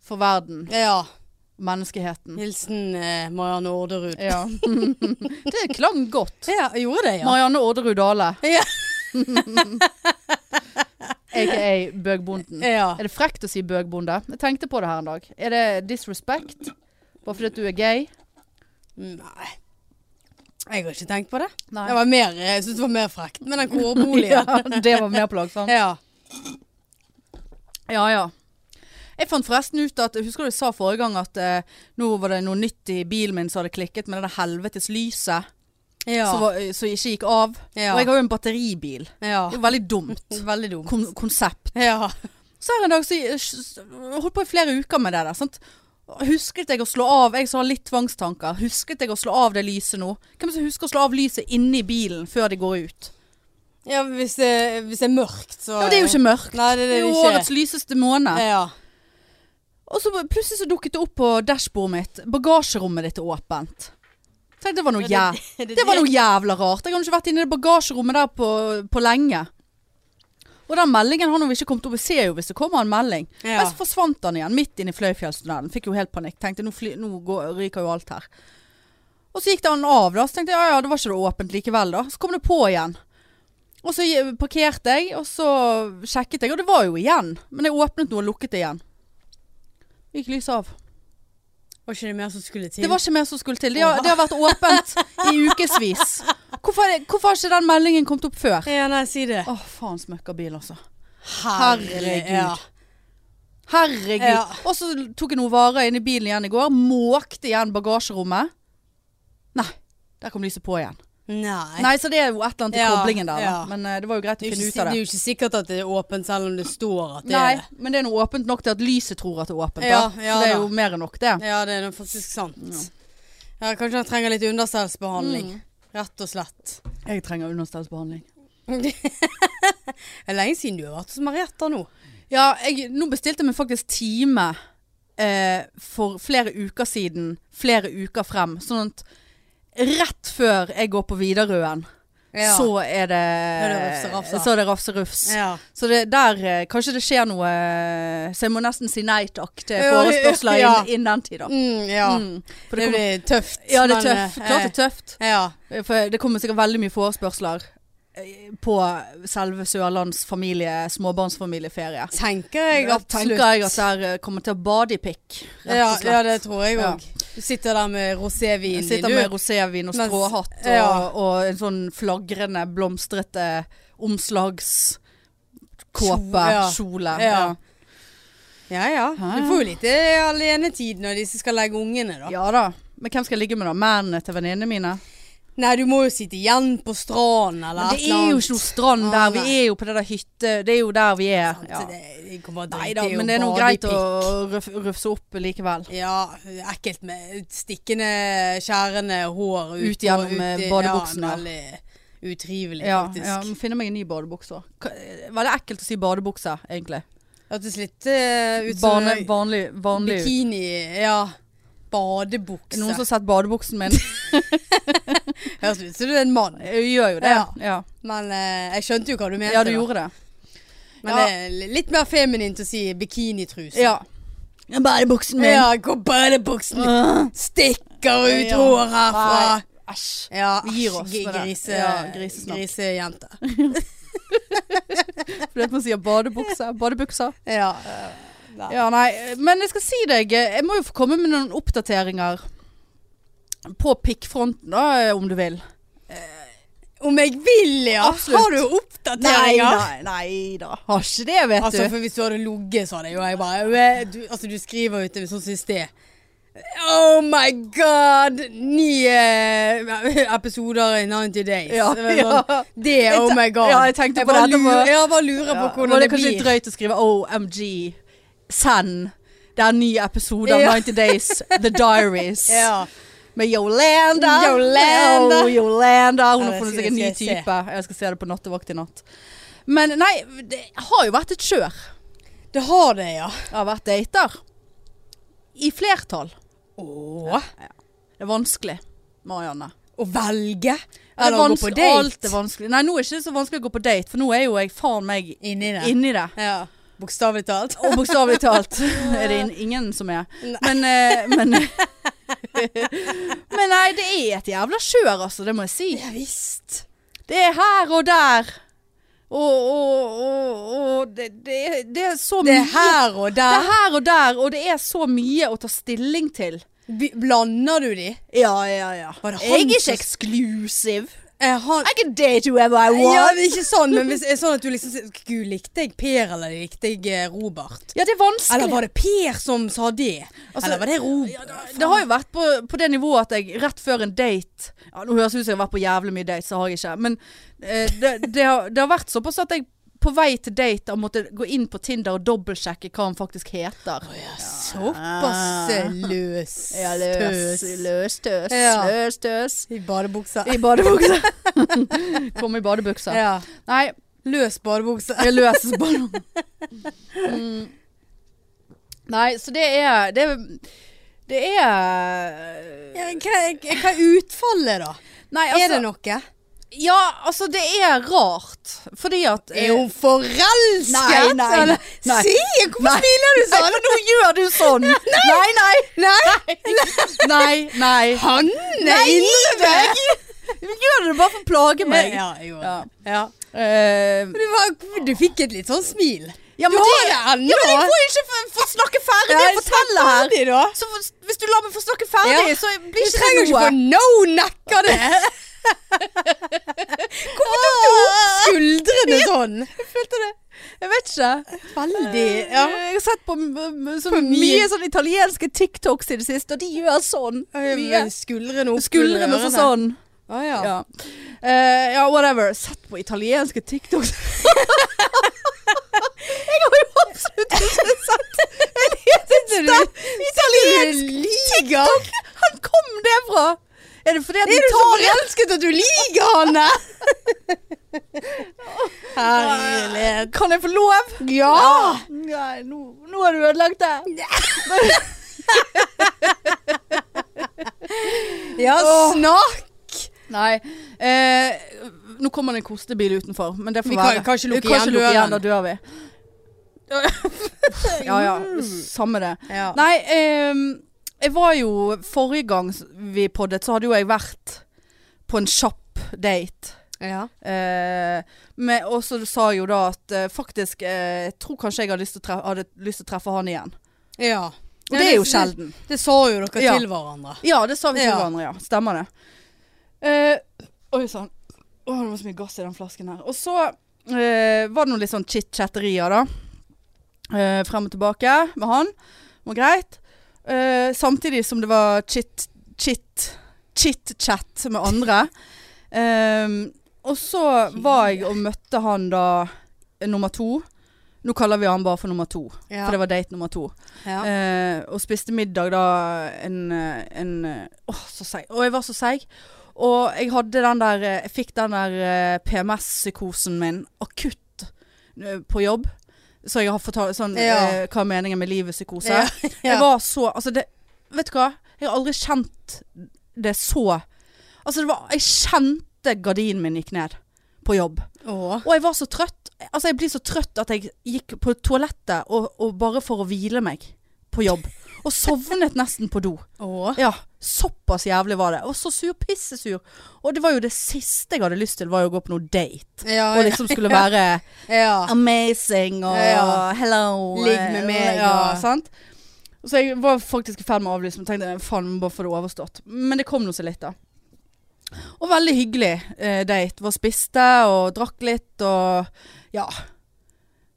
S1: for verden.
S2: Ja.
S1: Menneskeheten.
S2: Hilsen eh, Marianne Orderud.
S1: Ja. det klang godt.
S2: Ja, gjorde det, ja.
S1: Marianne Orderud Dale.
S2: Ja.
S1: AKA Bøgbonden.
S2: ja.
S1: Er det frekt å si bøgbonde? Jeg tenkte på det her en dag. Er det disrespect? Bare fordi at du er gay?
S2: Nei. Jeg har ikke tenkt på det.
S1: Nei.
S2: Det var mer, jeg syns det var mer frekt med den
S1: Ja,
S2: kårboligen.
S1: det var mer plagsomt.
S2: ja.
S1: Ja, ja. Jeg fant forresten ut at, husker du jeg sa forrige gang at eh, nå var det noe nytt i bilen min som hadde klikket med det der helvetes lyset
S2: Ja.
S1: som, var, eh, som ikke gikk av.
S2: Ja.
S1: Og jeg har jo en batteribil.
S2: ja.
S1: Det er veldig dumt
S2: Veldig dumt.
S1: kon konsept.
S2: Ja.
S1: Så her en dag så jeg holdt på i flere uker med det der. Sant? Husket jeg å slå av Jeg som har litt tvangstanker. Husket jeg å slå av det lyset nå? Hvem som husker å slå av lyset inni bilen før de går ut?
S2: ja hvis, det, hvis det er mørkt, så
S1: Ja, men det er jo ikke mørkt.
S2: Nei, det er
S1: Det
S2: det
S1: er jo
S2: ikke.
S1: årets lyseste måned.
S2: Ja.
S1: Og så plutselig så dukket det opp på dashbordet mitt. Bagasjerommet ditt er åpent. Tenk, det var noe, jæv det var noe jævla rart. Jeg har jo ikke vært inne i det bagasjerommet der på, på lenge. Og den meldingen har nå ikke kommet opp. Jeg ser jo hvis det kommer en melding.
S2: Ja.
S1: Men så forsvant den igjen, midt inn i Fløyfjellstunnelen. Fikk jo helt panikk. Tenkte nå, fly, nå går, ryker jo alt her. Og så gikk den av, da. Så tenkte jeg ja ja, det var ikke det åpent likevel, da. Så kom det på igjen. Og så je- parkerte jeg, og så sjekket jeg, og det var jo igjen. Men jeg åpnet noe og lukket det igjen. Gikk lyset av.
S2: Var ikke det mer som skulle til?
S1: Det var ikke mer som skulle til. Det har, det har vært åpent i ukevis. Hvorfor, er det- hvorfor har ikke den meldingen kommet opp før?
S2: Ja, nei, si det.
S1: Å, faen smøkkabil, altså.
S2: Herregud.
S1: Ja. Herregud.
S2: Ja.
S1: Og så tok jeg noen varer inn i bilen igjen i går. Måkte igjen bagasjerommet. Nei, der kom lyset på igjen.
S2: Nei.
S1: Nei, så det er jo et eller annet i
S2: Ja,
S1: koblingen der. da.
S2: ja.
S1: Men eh, det var jo greit
S2: Det
S1: å
S2: er,
S1: finne
S2: jo ikke,
S1: ut av
S2: si- det er
S1: det.
S2: jo ikke sikkert at det er åpent, selv om det står at det
S1: Nei,
S2: er det.
S1: men det er noe åpent nok til at lyset tror at det er åpent. Da.
S2: Ja, ja
S1: så det er
S2: da.
S1: jo mer enn nok, det.
S2: Ja, det er nå faktisk sant. Ja, Kanskje han trenger litt
S1: Mm.
S2: understellsbehandling. Rett og slett.
S1: Jeg trenger understellsbehandling.
S2: det er lenge siden du har vært hos Marietta nå.
S1: Ja, jeg, nå bestilte jeg meg faktisk time eh, for flere uker siden, flere uker frem. Sånn at rett før jeg går på Widerøen,
S2: Ja.
S1: så er det,
S2: det rafse-rafsa.
S1: så er det rafserufs.
S2: Ja.
S1: Så det, der eh, kanskje det skjer noe eh, Så jeg må nesten si nei takk til
S2: Ja,
S1: forespørsler
S2: ja.
S1: innen inn den tid, da.
S2: Mm, ja.
S1: Mm. For
S2: Det,
S1: det kommer,
S2: blir tøft.
S1: ja, det er
S2: men,
S1: tøft.
S2: eh,
S1: Klart det er tøft.
S2: Ja.
S1: For det kommer sikkert veldig mye forespørsler eh, på selve Sørlands familie, småbarnsfamilieferie.
S2: Tenker jeg
S1: Da
S2: absolutt.
S1: tenker jeg at der eh, kommer til å bade i pikk, rett
S2: ja,
S1: og slett.
S2: ja, det tror jeg
S1: Ja.
S2: òg. Du sitter der med
S1: Jeg
S2: rosévinen din,
S1: sitter
S2: du.
S1: med rosévin og
S2: Mens-
S1: stråhatt og,
S2: ja.
S1: og en sånn flagrende, blomstrete omslagskåpe,
S2: Kjole, ja.
S1: kjole.
S2: Ja.
S1: Ja.
S2: Ja ja. Du får jo litt eh, alenetid når disse skal legge ungene, da.
S1: ja da. Men hvem skal jeg ligge med da? Mennene til venninnene mine?
S2: Nei, du må jo sitte igjen på stranden
S1: Men
S2: eller
S1: det er jo ikke noe strand der.
S2: Ah,
S1: Vi er jo på det der hytte... Det er jo der vi er. Ja.
S2: Ja. Det, kommer
S1: sånn. Nei da, men det er nå greit å ruf, rufse opp likevel.
S2: Ja, ekkelt med stikkende, skjærende hår ut,
S1: Ut gjennom,
S2: og
S1: eh, badebuksen,
S2: Ja,
S1: ja.
S2: veldig utrivelig,
S1: Ja,
S2: faktisk.
S1: ja, må finne meg en ny badebukse. også. Ka- Veldig ekkelt å si badebukse, egentlig.
S2: Hørtes litt eh, ut som
S1: Bane, vanlig, vanlig ut.
S2: bikini. Ja.
S1: Er det Noen som
S2: Badebukse.
S1: har sett badebuksen min?
S2: Høres ut som du er en mann.
S1: Jeg gjør jo det.
S2: Ja.
S1: Ja,
S2: Men eh, jeg skjønte jo hva du mente.
S1: ja du
S2: da.
S1: gjorde det.
S2: Men
S1: Ja.
S2: det er li- litt mer feminint å si bikinitruse.
S1: Ja. Badebuksen min.
S2: Ja, gå badebuksen.
S1: Øh.
S2: Stikker ut
S1: Ja.
S2: hår herfra.
S1: Nei, Æsj.
S2: Ja,
S1: Vi gir oss
S2: æsj,
S1: med det.
S2: grise,
S1: Ja, grisesnakk.
S2: grisejente.
S1: For det man sier badebukse. Badebukser.
S2: Ja, eh, nei.
S1: Ja, nei, men jeg skal si deg Jeg må jo få komme med noen oppdateringer På pikkfronten da, om du vil
S2: Om jeg vil, ja?
S1: Absolutt.
S2: Har du
S1: nei,
S2: oppdateringer?
S1: nei da Har ikke det, vet
S2: Altså,
S1: du
S2: for Hvis du hadde ligget, så hadde jeg jo jeg bare «Ø, du, Altså, du skriver jo ut det sånn som i sted. Oh my god! Ni eh, episoder i 90 Days.
S1: Ja,
S2: det, var sånn,
S1: ja.
S2: det,
S1: Jeg
S2: oh
S1: te-
S2: my god.
S1: ja, jeg tenkte på
S2: bare
S1: dette
S2: lurer,
S1: med-
S2: Ja, bare lurer på hvordan
S1: Var
S2: det
S1: det kanskje litt
S2: blir.
S1: drøyt å skrive OMG Send Det er en ny episode av
S2: Ja.
S1: 90 Days The Diaries
S2: Ja.
S1: Med Yolanda
S2: Yolanda.
S1: oh, Yolanda Hun
S2: Ja,
S1: har
S2: det
S1: funnet
S2: skal-
S1: seg en ny
S2: skal jeg se.
S1: type Jeg skal se det på nattevakt i natt Men nei, det har jo vært et kjør
S2: Det har det, ja.
S1: Det har vært dater I flertall
S2: Åh.
S1: Det er vanskelig, Marianne.
S2: Å velge?
S1: Det er
S2: Eller å gå
S1: vans-
S2: på
S1: Alt er
S2: date?
S1: vanskelig. Nei, nå er det ikke så vanskelig å gå på date, for nå er jo jeg faen meg
S2: Inni det.
S1: inni det.
S2: Ja. Bokstavelig talt.
S1: Og bokstavelig talt er det in ingen som er.
S2: Nei.
S1: Men, eh, men Men nei, det er et jævla kjør, altså. Det må jeg si.
S2: Ja visst.
S1: Det er her og der. Og, og, og, og det, det, er- det er så
S2: Det
S1: mye
S2: er her og
S1: Det
S2: der.
S1: er her og der, og det er så mye å ta stilling til.
S2: Vi- Blander du de?
S1: Ja, ja, ja.
S2: Var det han
S1: Jeg er
S2: som-
S1: ikke eksklusiv.
S2: Er han
S1: I can date whoever I want.
S2: Ja, det er ikke sånn, men hvis, er det sånn at du liksom sier, Gud, likte jeg Per, eller likte jeg eh, Robert?
S1: Ja, det er vanskelig.
S2: Eller var det Per som sa det? eller var det
S1: Ja,
S2: Robert?
S1: det- det har jo vært på, på det nivået at jeg rett før en date ja, Nå høres det ut som jeg har vært på jævlig mye date, så har jeg ikke. Men eh, det, det, har, det har vært såpass at jeg på vei til date har måttet gå inn på Tinder og dobbeltsjekke hva han faktisk heter.
S2: Såpass eh, løs. tøs.
S1: Ah. løs, tøs,
S2: Ja.
S1: løs, tøs.
S2: I badebuksa.
S1: I badebukse. Kom i badebukse.
S2: Ja.
S1: Nei,
S2: Løs badebukse.
S1: Jeg løses bare mm. Nei, så det er Det, det er
S2: Ja, hva, hva er utfallet, da?
S1: Nei, altså
S2: er det noe?
S1: Ja, altså, det er rart. Fordi at eh,
S2: Er hun forelsket?
S1: Nei, nei,
S2: eller?
S1: nei.
S2: Si! Hvorfor smiler du
S1: Nei,
S2: sånn?
S1: for nå gjør du sånn! Nei, nei!
S2: Nei!
S1: Nei, nei.
S2: Han er innebærer!
S1: Du gjør det bare for å plage meg.
S2: Ja, jo.
S1: Ja.
S2: Ja.
S1: Eh,
S2: Du, var, du fikk et litt sånn smil.
S1: ja, men
S2: du har
S1: det-
S2: det ennå.
S1: Ja, men jeg får jo ikke få- få snakke ferdig og fortelle her.
S2: Ferdig, da.
S1: Så hvis du lar meg få snakke ferdig,
S2: Ja.
S1: så
S2: Du
S1: blir ikke
S2: trenger
S1: det
S2: ikke
S1: noe.
S2: få no-nacka det. Hvorfor tok du opp skuldrene sånn?
S1: følte det. Jeg vet ikke. Eh,
S2: Veldig. Ja.
S1: Jeg har sett på, m- m- så
S2: På mye-
S1: mye sånn italienske TikToks i det siste, og de gjør sånn. Mye.
S2: Med Um, Skuldrene opp
S1: Skuldrene og så sånn.
S2: Ah, ja.
S1: Ja. Eh, ja, whatever. Sett på italienske TikToks. jeg har jo absolutt ikke sett en eneste italiensk
S2: Du liker.
S1: TikTok. Han kom det fra. Er det fordi at
S2: Er du så
S1: Italia
S2: forelsket at du liker Hanne? Herlighet.
S1: Kan jeg få lov?
S2: Ja.
S1: Nei, nå, nå har du ødelagt det.
S2: Ja,
S1: Åh.
S2: snakk.
S1: Nei. Eh, nå kommer det en kostebil utenfor, men det får
S2: Vi kan-
S1: være.
S2: kan ikke lukke
S1: Vi kan
S2: igjen
S1: ikke lukke
S2: døren.
S1: igjen, da dør vi. Ja ja,
S2: Mm.
S1: samme det.
S2: Ja.
S1: Mm. Nei, ehm, jeg var jo Forrige gang vi poddet, så hadde jo jeg vært på en kjapp date.
S2: Ja.
S1: Eh, men- og så sa jeg jo da at eh, faktisk eh, Jeg tror kanskje jeg hadde lyst til å treffe, hadde lyst til å treffe han igjen.
S2: ja.
S1: Og det er jo sjelden.
S2: Det sa jo dere
S1: Ja.
S2: til hverandre.
S1: Ja, det sa vi til
S2: Ja.
S1: hverandre, ja. Stemmer det. Eh, oi sann. Å, det var så mye gass i den flasken her. Og så eh, var det noe litt sånn chit-chatterier, da. Eh, frem og tilbake med han. Det var greit. Eh, samtidig som det var chit-chit chit-chat med andre. Ehm, og så var jeg og møtte han da eh, nummer to. Nå kaller vi han bare for nummer to,
S2: Ja.
S1: for det var date nummer to.
S2: ja.
S1: Eh, og spiste middag da en, eh, en eh, Åh, så seig. Og jeg var så seig. Og jeg hadde den der eh, Jeg fikk den der eh, PMS-psykosen min akutt eh, på jobb. Så jeg har fortalt sånn
S2: Ja.
S1: eh, Hva er meningen med livet-psykose?
S2: Ja, ja.
S1: Jeg var så Altså, det Vet du hva? Jeg har aldri kjent det så Altså, det var Jeg kjente gardinen min gikk ned på jobb.
S2: Åh.
S1: Og jeg var så trøtt. Altså, jeg blir så trøtt at jeg gikk på toalettet og, og bare for å hvile meg på jobb. Og sovnet nesten på do.
S2: Åh.
S1: Ja, såpass jævlig var det. Og så sur, pissesur. Og det var jo det siste jeg hadde lyst til, var jo å gå på noe date.
S2: Ja,
S1: Og liksom skulle være
S2: ja.
S1: amazing og
S2: Ja.
S1: hello.
S2: Ligg med
S1: eh,
S2: meg,
S1: Ja,
S2: og-
S1: sant? Så jeg var faktisk i ferd med å avlyse, men tenkte faen, må bare få det overstått. Men det kom nå seg litt, da. Og veldig hyggelig eh, date. Var og spiste og drakk litt og ja.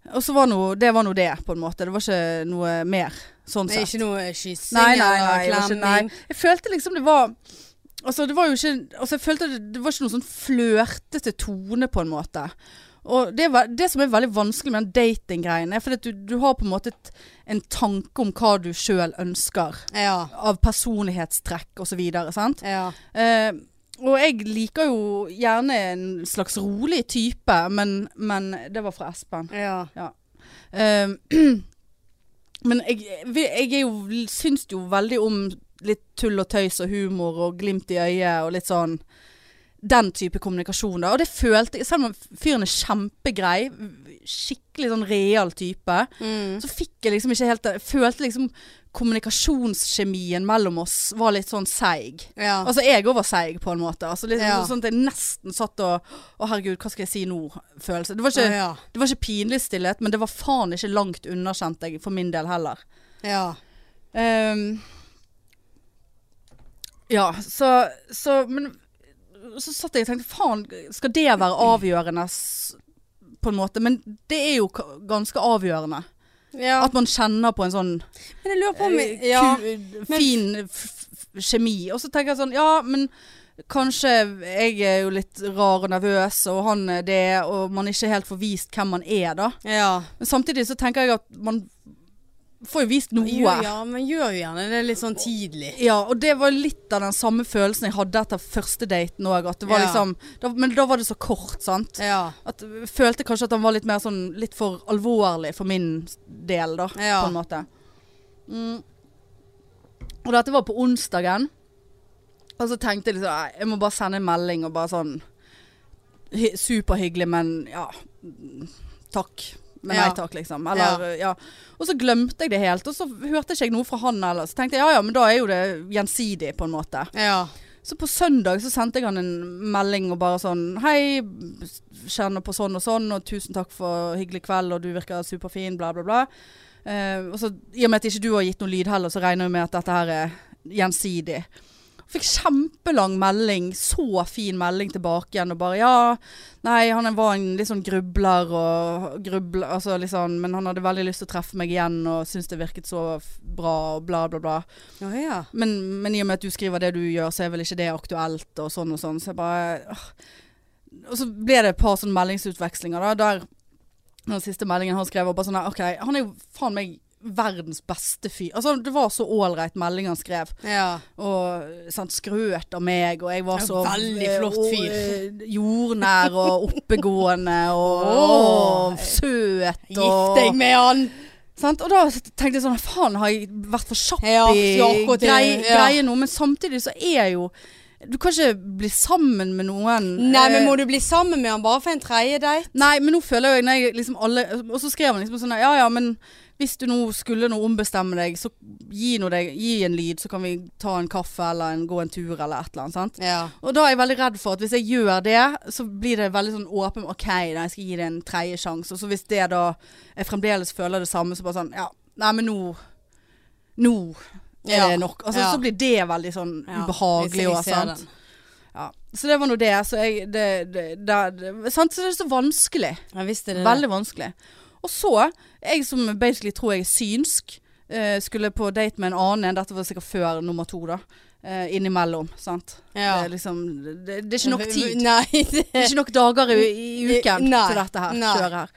S1: Og så var nå det, var nå det, på en måte. Det var ikke noe mer, sånn
S2: Det er
S1: sett.
S2: ikke noe kyssing
S1: Nei, nei, nei, det
S2: eller
S1: var ikke,
S2: klemming.
S1: nei. Jeg følte liksom det var Altså, det var jo ikke Altså, jeg følte det, det var ikke noen sånn flørtete tone, på en måte. Og det, var, det som er veldig vanskelig med den datinggreien, er fordi at du, du har på en måte et, en tanke om hva du sjøl ønsker.
S2: Ja.
S1: Av personlighetstrekk og så videre, sant.
S2: Ja.
S1: Eh, og jeg liker jo gjerne en slags rolig type, men, men det var fra Espen.
S2: ja.
S1: Um, men jeg, jeg er jo, syns jo veldig om litt tull og tøys og humor og glimt i øyet og litt sånn den type kommunikasjon. da. Og det følte jeg, selv om fyren er kjempegrei, skikkelig sånn real type,
S2: Mm.
S1: så fikk jeg liksom ikke helt det. Jeg følte liksom kommunikasjonskjemien mellom oss var litt sånn seig.
S2: ja.
S1: Altså jeg òg var seig på en måte. Altså, litt,
S2: Ja.
S1: Sånn at jeg nesten satt og Å herregud, hva skal jeg si nå? Følelse. Det var ikke
S2: ja.
S1: det var ikke pinlig stillhet, men det var faen ikke langt unna, kjente jeg, for min del heller.
S2: ja.
S1: Ehm, ja, så, så Men så satt jeg og tenkte faen, skal det være avgjørende, s- på en måte? Men det er jo k- ganske avgjørende.
S2: ja.
S1: At man kjenner på en sånn
S2: Men jeg lurer på om
S1: eh,
S2: ja.
S1: ku,
S2: men-
S1: fin f f kjemi. Og så tenker jeg sånn, ja, men kanskje jeg er jo litt rar og nervøs, og han er det, og man er ikke helt får vist hvem man er, da.
S2: ja.
S1: Men samtidig så tenker jeg at man får jo vist noe.
S2: Jo, ja, men gjør jo gjerne det litt sånn tidlig.
S1: Ja, og det var litt av den samme følelsen jeg hadde etter første daten òg.
S2: Ja.
S1: Liksom, da- men da var det så kort, sant.
S2: Ja.
S1: At jeg følte kanskje at han var litt mer sånn litt for alvorlig for min del, da.
S2: Ja.
S1: På en måte. Mm. Og dette var på onsdagen. Og så tenkte jeg liksom "Nei, Jeg må bare sende en melding og bare sånn hy- Superhyggelig, men ja mm, Takk. Men
S2: Ja.
S1: nei takk, liksom. Eller, ja. Og så glemte jeg det helt. Og så hørte ikke jeg noe fra han heller. Så tenkte jeg ja ja, men da er jo det gjensidig, på en måte.
S2: Ja.
S1: Så på søndag så sendte jeg han en melding og bare sånn Hei, kjenner på sånn og sånn, og tusen takk for hyggelig kveld, og du virker superfin, bla, bla, bla. Eh, og så, I og med at ikke du har gitt noe lyd heller, så regner jeg med at dette her er gjensidig. Fikk kjempelang melding, så fin melding tilbake igjen, og bare ja Nei, han var en litt sånn grubler og grubler, altså litt sånn, men han hadde veldig lyst til å treffe meg igjen, og syntes det virket så f- bra, og bla, bla, bla.
S2: Å ja.
S1: Men, men i og med at du skriver det du gjør, så er vel ikke det aktuelt, og sånn og sånn. Så jeg bare åh. Og så ble det et par sånne meldingsutvekslinger, da, der den siste meldingen han skrev, var bare sånn her OK, han er jo faen meg verdens beste fyr. Altså, det var så ålreit melding han skrev,
S2: Ja.
S1: og sant, skrøt av meg, og jeg var
S2: Ja,
S1: så
S2: veldig flott
S1: og,
S2: fyr.
S1: eh, jordnær og oppegående og,
S2: Åh.
S1: og søt og
S2: Gift deg med han!
S1: Sant? Og da tenkte jeg sånn Faen, har jeg vært for kjapp
S2: Ja,
S1: i
S2: ja, akkurat det,
S1: grei,
S2: ja.
S1: greie nå? Men samtidig så er jeg jo Du kan ikke bli sammen med noen
S2: Nei, men
S1: eh,
S2: må du bli sammen med han bare for en tredje date?
S1: Nei, men nå føler jeg, når jeg liksom alle Og så skrev han liksom sånn Ja ja, men hvis du nå skulle nå ombestemme deg, så gi, nå deg, gi en lyd, så kan vi ta en kaffe eller en, gå en tur eller et eller annet. sant?
S2: Ja.
S1: Og da er jeg veldig redd for at hvis jeg gjør det, så blir det veldig sånn åpen OK, da, jeg skal gi det en tredje sjanse. Og så hvis det da jeg fremdeles føler det samme, så bare sånn Ja, nei, men nå Nå er
S2: Ja,
S1: det nok. Altså,
S2: ja.
S1: Så blir det veldig sånn
S2: Ja,
S1: ubehagelig
S2: jeg- jeg
S1: og
S2: ser
S1: sant.
S2: den.
S1: Ja. Så det var nå det. Så jeg det, det, det, det, Sant, så det er så vanskelig.
S2: Ja, visst er det
S1: Veldig vanskelig. Og så, jeg som basically tror jeg er synsk, eh, skulle på date med en annen en. Dette var sikkert før nummer to, da. eh, innimellom. Sant?
S2: Ja.
S1: Det, er liksom, det, det er ikke nok tid.
S2: Nei,
S1: Det
S2: det
S1: er ikke nok dager i, i uken
S2: Nei,
S1: til dette her.
S2: nei.
S1: Kjøret her.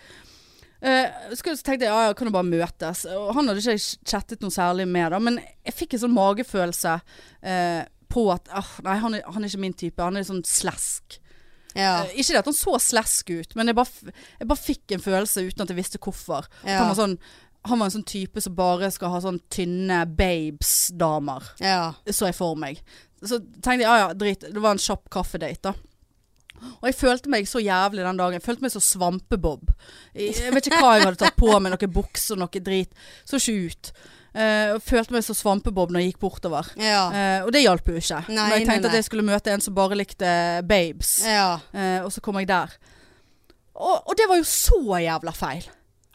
S1: Eh, så tenkte jeg ja, ja, kan jo bare møtes. Og han hadde ikke jeg chattet noe særlig med, da, men jeg fikk en sånn magefølelse eh, på at ah, nei, han er, han er ikke min type. Han er sånn slesk.
S2: ja.
S1: Eh, Ikke det at han så slesk ut, men jeg bare, f- jeg bare fikk en følelse uten at jeg visste hvorfor.
S2: Ja.
S1: Han, var sånn, han var en sånn type som bare skal ha sånn tynne babes-damer.
S2: ja.
S1: Så jeg for meg. Så tenkte jeg ja ja, drit. Det var en kjapp kaffedate, da. Og jeg følte meg så jævlig den dagen. Jeg følte meg så svampebob. Jeg jeg vet ikke hva jeg hadde tatt på meg, noen bukser, noe drit. Så ikke ut. Eh, og følte meg så svampebob når jeg gikk bortover.
S2: ja.
S1: Eh, og det hjalp jo ikke.
S2: Nei,
S1: når jeg
S2: nei,
S1: tenkte
S2: nei.
S1: at jeg skulle møte en som bare likte babes.
S2: Ja.
S1: Eh, og så kom jeg der. Og, og det var jo så jævla feil.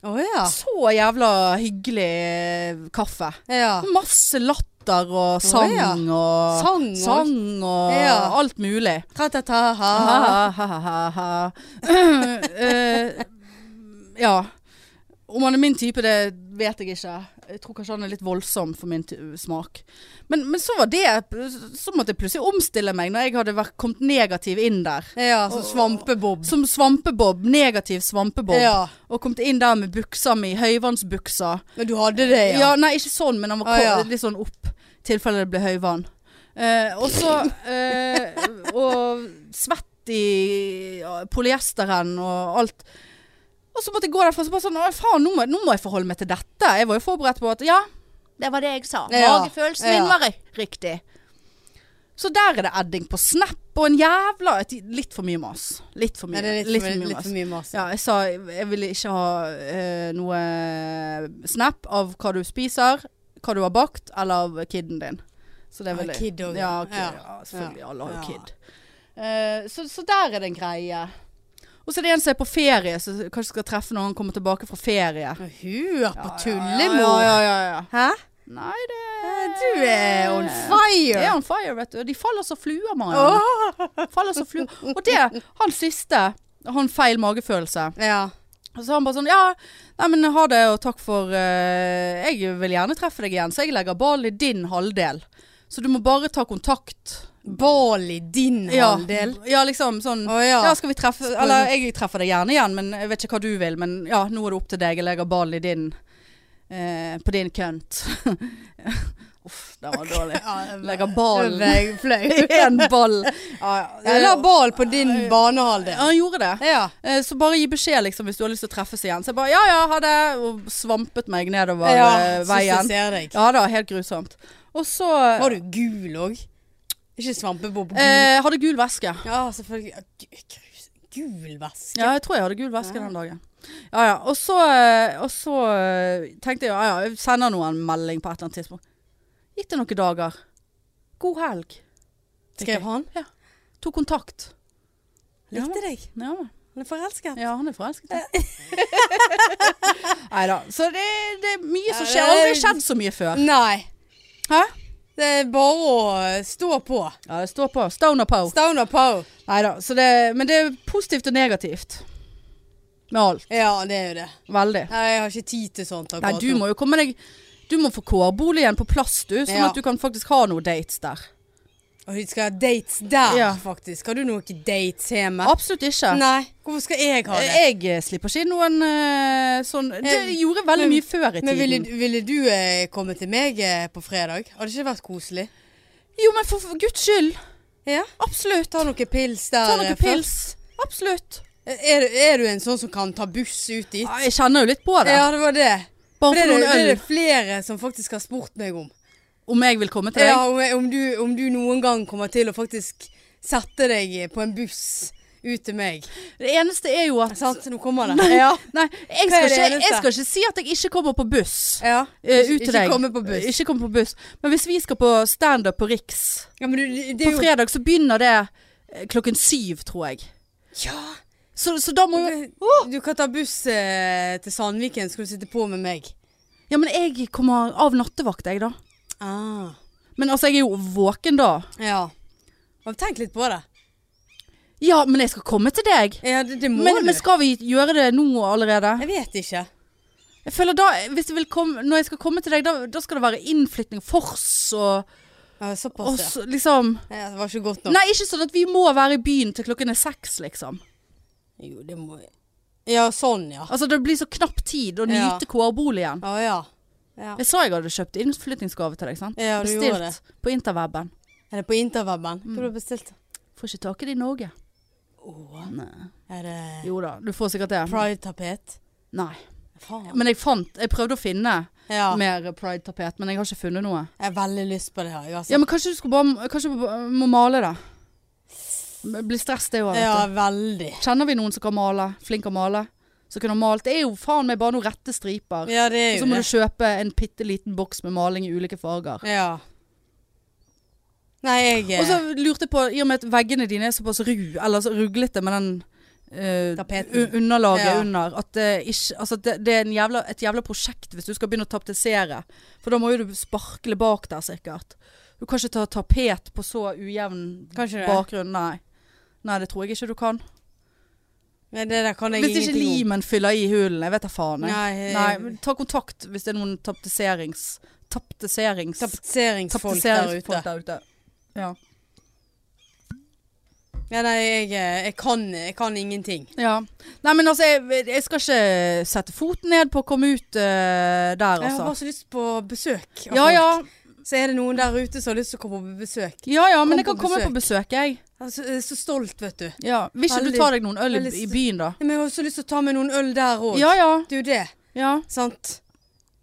S2: Å ja.
S1: Så jævla hyggelig eh, kaffe.
S2: ja.
S1: Masse latter og sang
S2: ja.
S1: og
S2: Sang og-
S1: sang Sånn og
S2: Ja. Ah.
S1: alt mulig.
S2: Ta-ta-ta-ha.
S1: Ha, ha, ha, ha, ha. Eh, ja. Om han er min type, det vet jeg ikke. Jeg tror kanskje han er litt voldsom for min ty- smak. Men, men så var det Så måtte jeg plutselig omstille meg når jeg hadde vært, kommet negativ inn der.
S2: Ja, så Altså svampebob.
S1: Som svampebob. Negativ svampebob.
S2: Ja.
S1: Og kommet inn der med buksa mi. Høyvannsbuksa.
S2: Men du hadde det,
S1: Ja.
S2: ja?
S1: nei, ikke sånn, men han var
S2: Å,
S1: kort-
S2: ja.
S1: litt sånn opp. I tilfelle det ble høyvann. Eh, og så eh, Og svett i ja, polyesteren og alt. Og så måtte jeg gå derfra og så bare sånn «Å, Faen, nå må, nå må jeg forholde meg til dette. Jeg var jo forberedt på at Ja, det var det jeg sa.
S2: Ja,
S1: Magefølelsen
S2: ja.
S1: min var ri- riktig. Så der er det adding på snap og en jævla et, Litt for mye mas. Litt for mye.
S2: Ja, det er litt,
S1: litt
S2: for,
S1: for mye
S2: litt
S1: mas.
S2: for mye mas.
S1: Ja, jeg sa jeg ville ikke ha eh, noe snap av hva du spiser, hva du har bakt, eller av kiden din. Så det
S2: Ah,
S1: vil jeg.
S2: kid også,
S1: ja,
S2: ja.
S1: ok,
S2: Ja.
S1: ja, selvfølgelig.
S2: Ja.
S1: Alle har jo
S2: Ja.
S1: kid. Eh, så, så der er det en greie. Og så er det en som er på ferie, som kanskje skal treffe når han kommer tilbake fra ferie.
S2: Men Hun er
S1: Ja,
S2: på
S1: ja,
S2: tullemor.
S1: ja, ja, ja.
S2: Hæ?
S1: Nei, det
S2: Du er on fire.
S1: Det er on fire, vet du. Og De faller som fluer, Marianne.
S2: Åh.
S1: Faller som fluer. Og det, han siste, han feil magefølelse.
S2: ja.
S1: Og så han bare sånn, ja, nei, men ha det og takk for eh, Jeg vil gjerne treffe deg igjen, så jeg legger ball i din halvdel. Så du må bare ta kontakt.
S2: Bål i din
S1: Ja,
S2: halvdel.
S1: ja liksom sånn
S2: Å ja.
S1: Ja, skal vi treffe Eller jeg treffer deg gjerne igjen, men jeg vet ikke hva du vil. Men ja, nå er det opp til deg. Jeg legger ball i din eh, På din kønt. Uff, den var dårlig. Legger ballen
S2: Jeg fløy.
S1: Én ball. Ja,
S2: Jeg la bål på din banehalvdel.
S1: Ja, han gjorde det.
S2: Ja.
S1: Eh, Så bare gi beskjed liksom, hvis du har lyst til å treffes igjen. Så jeg bare ja ja, ha det. Og svampet meg nedover
S2: ja.
S1: eh,
S2: Syns jeg
S1: veien.
S2: ser deg.
S1: Ja da, helt grusomt. Og så
S2: Var du gul òg? Ikke svampebob. Gul.
S1: eh, hadde gul væske.
S2: Ja, selvfølgelig. Ja, gu- grus- Gul væske.
S1: Ja, jeg tror jeg hadde gul væske
S2: Ja.
S1: den dagen. Ja ja. Og så, eh, og så eh, tenkte jeg ja ja, jeg sender nå en melding på et eller annet tidspunkt. Gikk det noen dager. God helg.
S2: Skrev han?
S1: Tok kontakt. Ja.
S2: Likte deg.
S1: Ja, men.
S2: Han er forelsket.
S1: Ja, han er forelsket. ja. Nei da. Så det, det er mye som
S2: Ja,
S1: skjer. Aldri
S2: det-
S1: skjedd så mye før.
S2: Nei.
S1: Hæ?
S2: Det er bare å eh, stå på.
S1: Ja, det står på. Stone og pow.
S2: Stone og pow.
S1: Nei da. Men det er positivt og negativt. Med alt.
S2: Ja, det er jo det.
S1: Veldig.
S2: Nei, Jeg har ikke tid til sånt.
S1: Nei, du må jo komme deg Du må få kårboligen på plass, du. Sånn
S2: Ja.
S1: at du kan faktisk ha noen dates der.
S2: Og vi skal ha dates der,
S1: Ja.
S2: faktisk. Har du noen dates hjemme?
S1: Absolutt ikke.
S2: Nei. Hvorfor skal jeg ha det?
S1: Jeg eh, slipper ikke inn noen eh, sånn Det
S2: Eh,
S1: gjorde veldig
S2: men-
S1: mye før i tiden.
S2: Men ville, ville du eh, komme til meg eh, på fredag? Hadde ikke det vært koselig?
S1: Jo, men for, for guds skyld.
S2: Ja.
S1: Absolutt.
S2: Ta noen pils der.
S1: Ta
S2: eh,
S1: noen
S2: først.
S1: pils. Absolutt.
S2: Er, du- er du en sånn som kan ta buss ut dit?
S1: Ja, Jeg kjenner jo litt på det.
S2: Ja, det var det.
S1: Bare
S2: For det, er
S1: for
S2: det,
S1: noen
S2: det er
S1: øl.
S2: det flere som faktisk har spurt meg om.
S1: Om jeg vil komme til deg?
S2: Ja, om, jeg- om, du, om du noen gang kommer til å faktisk sette deg på en buss ut til meg.
S1: Det eneste er jo at
S2: Sant? Nå kommer det. sånn. Ja.
S1: Altså, Nei, jeg
S2: Hva
S1: skal,
S2: er det
S1: ikke, jeg
S2: eneste?
S1: skal ikke si at jeg ikke kommer på buss.
S2: ja.
S1: eh, ut til
S2: ikke
S1: deg.
S2: komme på buss.
S1: Ikke komme på buss. Men hvis vi skal på standup på Riks
S2: Ja, men du, det
S1: på
S2: er jo
S1: fredag, så begynner det eh, klokken syv, tror jeg.
S2: Ja.
S1: Så, så da må jo
S2: Du, du kan ta buss eh, til Sandviken, skal du sitte på med meg.
S1: Ja, men jeg kommer av nattevakt, jeg, da.
S2: Ah.
S1: Men altså, jeg er jo våken da.
S2: Ja. Har du tenkt litt på det?
S1: Ja, men jeg skal komme til deg.
S2: Ja, det, det må
S1: Men,
S2: du.
S1: men skal vi gjøre det nå allerede?
S2: Jeg vet ikke.
S1: Jeg føler da, hvis jeg vil komme, Når jeg skal komme til deg, da, da skal det være innflytning, fors og
S2: Ja, Såpass,
S1: Og
S2: ja.
S1: så liksom
S2: Nei, Det var ikke godt nok.
S1: Nei, ikke sånn at vi må være i byen til klokken er seks, liksom.
S2: Jo, det må Ja, sånn, ja.
S1: Altså, det blir så knapp tid å
S2: Ja.
S1: nyte kårboligen.
S2: Å ja. ja.
S1: Jeg sa jeg hadde kjøpt innflyttingsgave til deg, sant?
S2: Ja, du gjorde
S1: Bestilt på interweben.
S2: Er det på interweben?
S1: Mm.
S2: Hva har du bestilt?
S1: Får ikke tak i det i Norge.
S2: Åh,
S1: Nei.
S2: er det
S1: Jo da, du får sikkert det.
S2: pride-tapet?
S1: Nei.
S2: Faen.
S1: Men jeg fant Jeg prøvde å finne
S2: Ja.
S1: mer pride-tapet, men jeg har ikke funnet noe.
S2: Jeg har veldig lyst på det her. Jeg, altså.
S1: Ja, men kanskje du skal bare Kanskje du bare må male det. Blir stress, det òg.
S2: ja, veldig.
S1: Kjenner vi noen som kan male? Flink til å male? Som kunne malt? Det er jo faen meg bare noen rette striper.
S2: Ja, det er
S1: Og
S2: jo
S1: så må
S2: det.
S1: du kjøpe en bitte liten boks med maling i ulike farger.
S2: Ja. Nei, jeg eh,
S1: Og så lurte jeg på, i og med at veggene dine er såpass ru, eller så ruglete med den eh,
S2: Tapeten.
S1: u- underlaget
S2: Ja.
S1: under, at det, ikke, altså at det, det er en jævla, et jævla prosjekt hvis du skal begynne å tapetsere. For da må jo du sparkle bak der sikkert. Du kan ikke ta tapet på så ujevn
S2: Kan ikke det?
S1: bakgrunn, nei. Nei, det tror jeg ikke du kan.
S2: Nei, det der kan jeg
S1: Hvis ikke
S2: ingenting om.
S1: limen fyller i hulen, jeg vet da faen. Jeg.
S2: Nei, eh, jeg-
S1: Nei, men ta kontakt hvis det er noen tapetserings... Tapetserings...
S2: Tapetseringsfolk der
S1: tapetseringsfolk
S2: ute.
S1: der ute. Ja.
S2: Ja, nei, jeg, eh, jeg, kan, jeg kan ingenting.
S1: Ja. Nei, men altså, jeg, jeg skal ikke sette foten ned på å komme ut eh, der,
S2: Jeg har
S1: altså.
S2: bare så lyst på besøk. av
S1: Ja
S2: folk.
S1: ja.
S2: Så er det noen der ute som har lyst til å komme på besøk.
S1: ja ja, men
S2: Kom
S1: jeg kan
S2: på
S1: komme
S2: besøk.
S1: på besøk, jeg.
S2: Jeg er så, jeg er så stolt, vet du.
S1: Ja. Vil ikke
S2: Veldig.
S1: du ta deg noen øl i,
S2: Veldig
S1: i
S2: st-
S1: byen, da?
S2: Nei, Men jeg har også lyst til å ta med noen øl der òg.
S1: Ja ja.
S2: Det er jo det,
S1: ja.
S2: sant?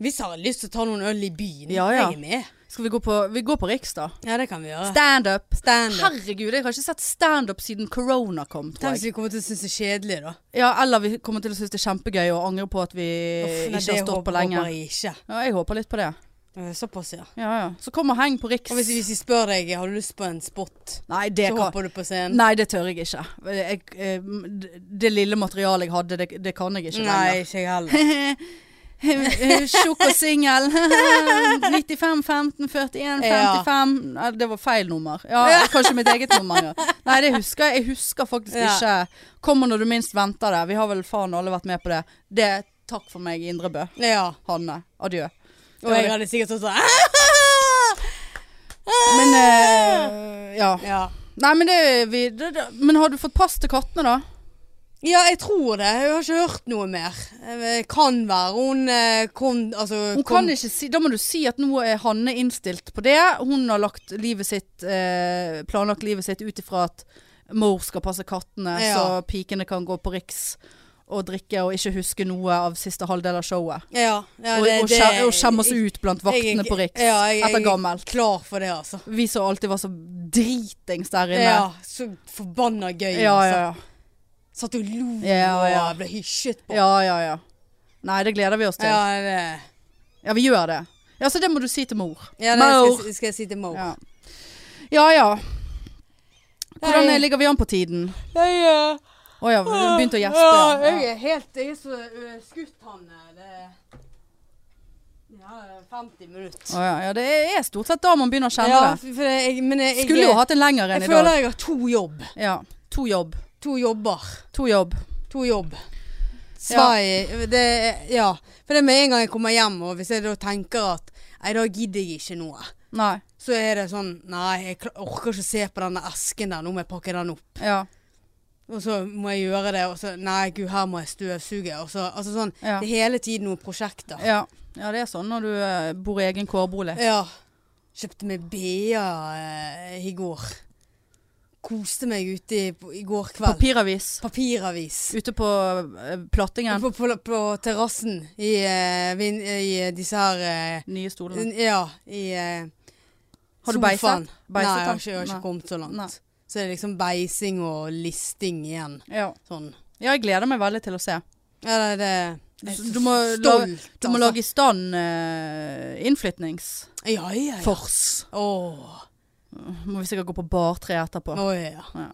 S2: Hvis jeg har lyst til å ta noen øl i byen,
S1: Ja, ja.
S2: jeg er med.
S1: Skal vi gå på, vi går på Riks, da?
S2: Ja, det kan vi gjøre.
S1: Standup.
S2: Stand up.
S1: Herregud, jeg har ikke sett standup siden korona kom, tror
S2: Tenk hvis
S1: jeg.
S2: vi kommer til å synes det er kjedelig, da.
S1: Ja, eller vi kommer til å synes det er kjempegøy og angre på at vi
S2: Uff, nei,
S1: Eh, ikke har stått
S2: det håper-
S1: på lenge.
S2: håper jeg ikke.
S1: Ja, jeg håper litt på det.
S2: Eh, Såpass, ja.
S1: Ja ja. Så kom og heng på Riks.
S2: Og hvis, hvis de spør deg har du lyst på en spot,
S1: Nei, det
S2: så
S1: kan
S2: hopper du på scenen.
S1: Nei, det tør jeg ikke. Jeg, eh, m- det lille materialet jeg hadde, det, det kan jeg ikke
S2: Nei, ikke jeg heller.
S1: lenger. Tjukk og singel. 95 15 41
S2: Ja.
S1: 55. Nei, det var feil nummer. Ja, kanskje mitt eget nummer. Ja. Nei, det husker jeg. Jeg husker faktisk
S2: Ja.
S1: ikke. Kommer når du minst venter det. Vi har vel faen alle vært med på det. Det er takk for meg, Indrebø.
S2: Ja.
S1: Hanne. Adjø.
S2: Og jeg hadde sikkert sånn sånn
S1: Men eh, ja.
S2: «Ah!» ja.
S1: Nei, men det, vi, det, det Men har du fått pass til kattene, da?
S2: ja, jeg tror det. Jeg har ikke hørt noe mer. Eh, Kan være hun eh, kom Altså
S1: Hun
S2: kom,
S1: kan ikke si, da må du si at nå er Hanne innstilt på det. Hun har lagt livet sitt, eh, planlagt livet sitt ut ifra at mor skal passe kattene,
S2: Ja.
S1: så pikene kan gå på Riks og drikke og ikke huske noe av siste halvdel av showet.
S2: Ja, ja,
S1: og,
S2: det-
S1: og,
S2: det-
S1: skje- og skjemme oss ut blant
S2: jeg-
S1: vaktene
S2: jeg-
S1: på Riks
S2: ja, jeg- jeg-
S1: etter gammelt.
S2: Klar for det, altså.
S1: Vi som alltid var så dritings der inne.
S2: Ja, så forbanna gøy.
S1: ja, ja.
S2: altså. Satt og lo
S1: Ja, ja.
S2: og ble hysjet på.
S1: ja, ja, ja. Nei, det gleder vi oss til. Ja,
S2: Ja, det,
S1: vi gjør det. Ja, så det må du si til mor.
S2: ja, det
S1: Mor.
S2: skal, jeg- skal jeg si til Mo.
S1: Ja. ja ja. Hvordan eh, ligger vi an på tiden?
S2: Jeg, eh,
S1: Å ja, du begynte å
S2: Ja,
S1: gjespe.
S2: jeg
S1: Ja.
S2: er helt Jeg er så eh, skutt, han eh, det, Ja, det er 50 minutter.
S1: Å ja, ja, det er stort sett da man begynner å kjenne
S2: ja,
S1: det.
S2: for for jeg, men jeg, jeg,
S1: Skulle jo hatt en lenger
S2: Jeg
S1: enn i
S2: føler
S1: dag.
S2: jeg har to jobb.
S1: Ja. To jobb.
S2: To jobber.
S1: To jobb.
S2: To jobb. Svai, det, ja. For det med en gang jeg kommer hjem, og hvis jeg da tenker at Nei, da gidder jeg ikke noe.
S1: Nei.
S2: Så er det sånn Nei, jeg kla- orker ikke se på denne esken der, nå må jeg pakke den opp.
S1: Ja.
S2: Og så må jeg gjøre det, og så Nei, gud, her må jeg støvsuge. Og så, altså sånn.
S1: Ja.
S2: Det er hele tiden noen prosjekter.
S1: ja. Ja, det er sånn når du eh, bor i egen kårbolig.
S2: Ja. Kjøpte meg BA eh, i går. Koste meg ute i, på- i går kveld.
S1: Papiravis.
S2: Papiravis.
S1: Ute på eh, plattingen.
S2: På, på, på terrassen i, eh, vin, i disse her eh,
S1: Nye stolene.
S2: Ja, i eh,
S1: Har du
S2: sofaen.
S1: beiset? Beiset
S2: Nei,
S1: den?
S2: jeg har ikke, jeg har
S1: Nei.
S2: ikke kommet så langt.
S1: Nei.
S2: Så det er liksom beising og listing igjen.
S1: Ja.
S2: Sånn.
S1: ja, jeg gleder meg veldig til å se.
S2: Ja, det, det
S1: Du-
S2: jeg er så
S1: du må la-
S2: stolt, altså.
S1: Du må lage i stand eh, innflytningsfors.
S2: Ja, ja, ja. Åh.
S1: Må vi sikkert gå på bartre etterpå.
S2: Åh, ja.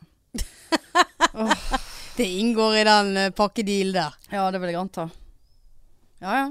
S1: Ja.
S2: Det inngår i den eh, pakkedeal der.
S1: ja, det vil jeg anta. Ja ja.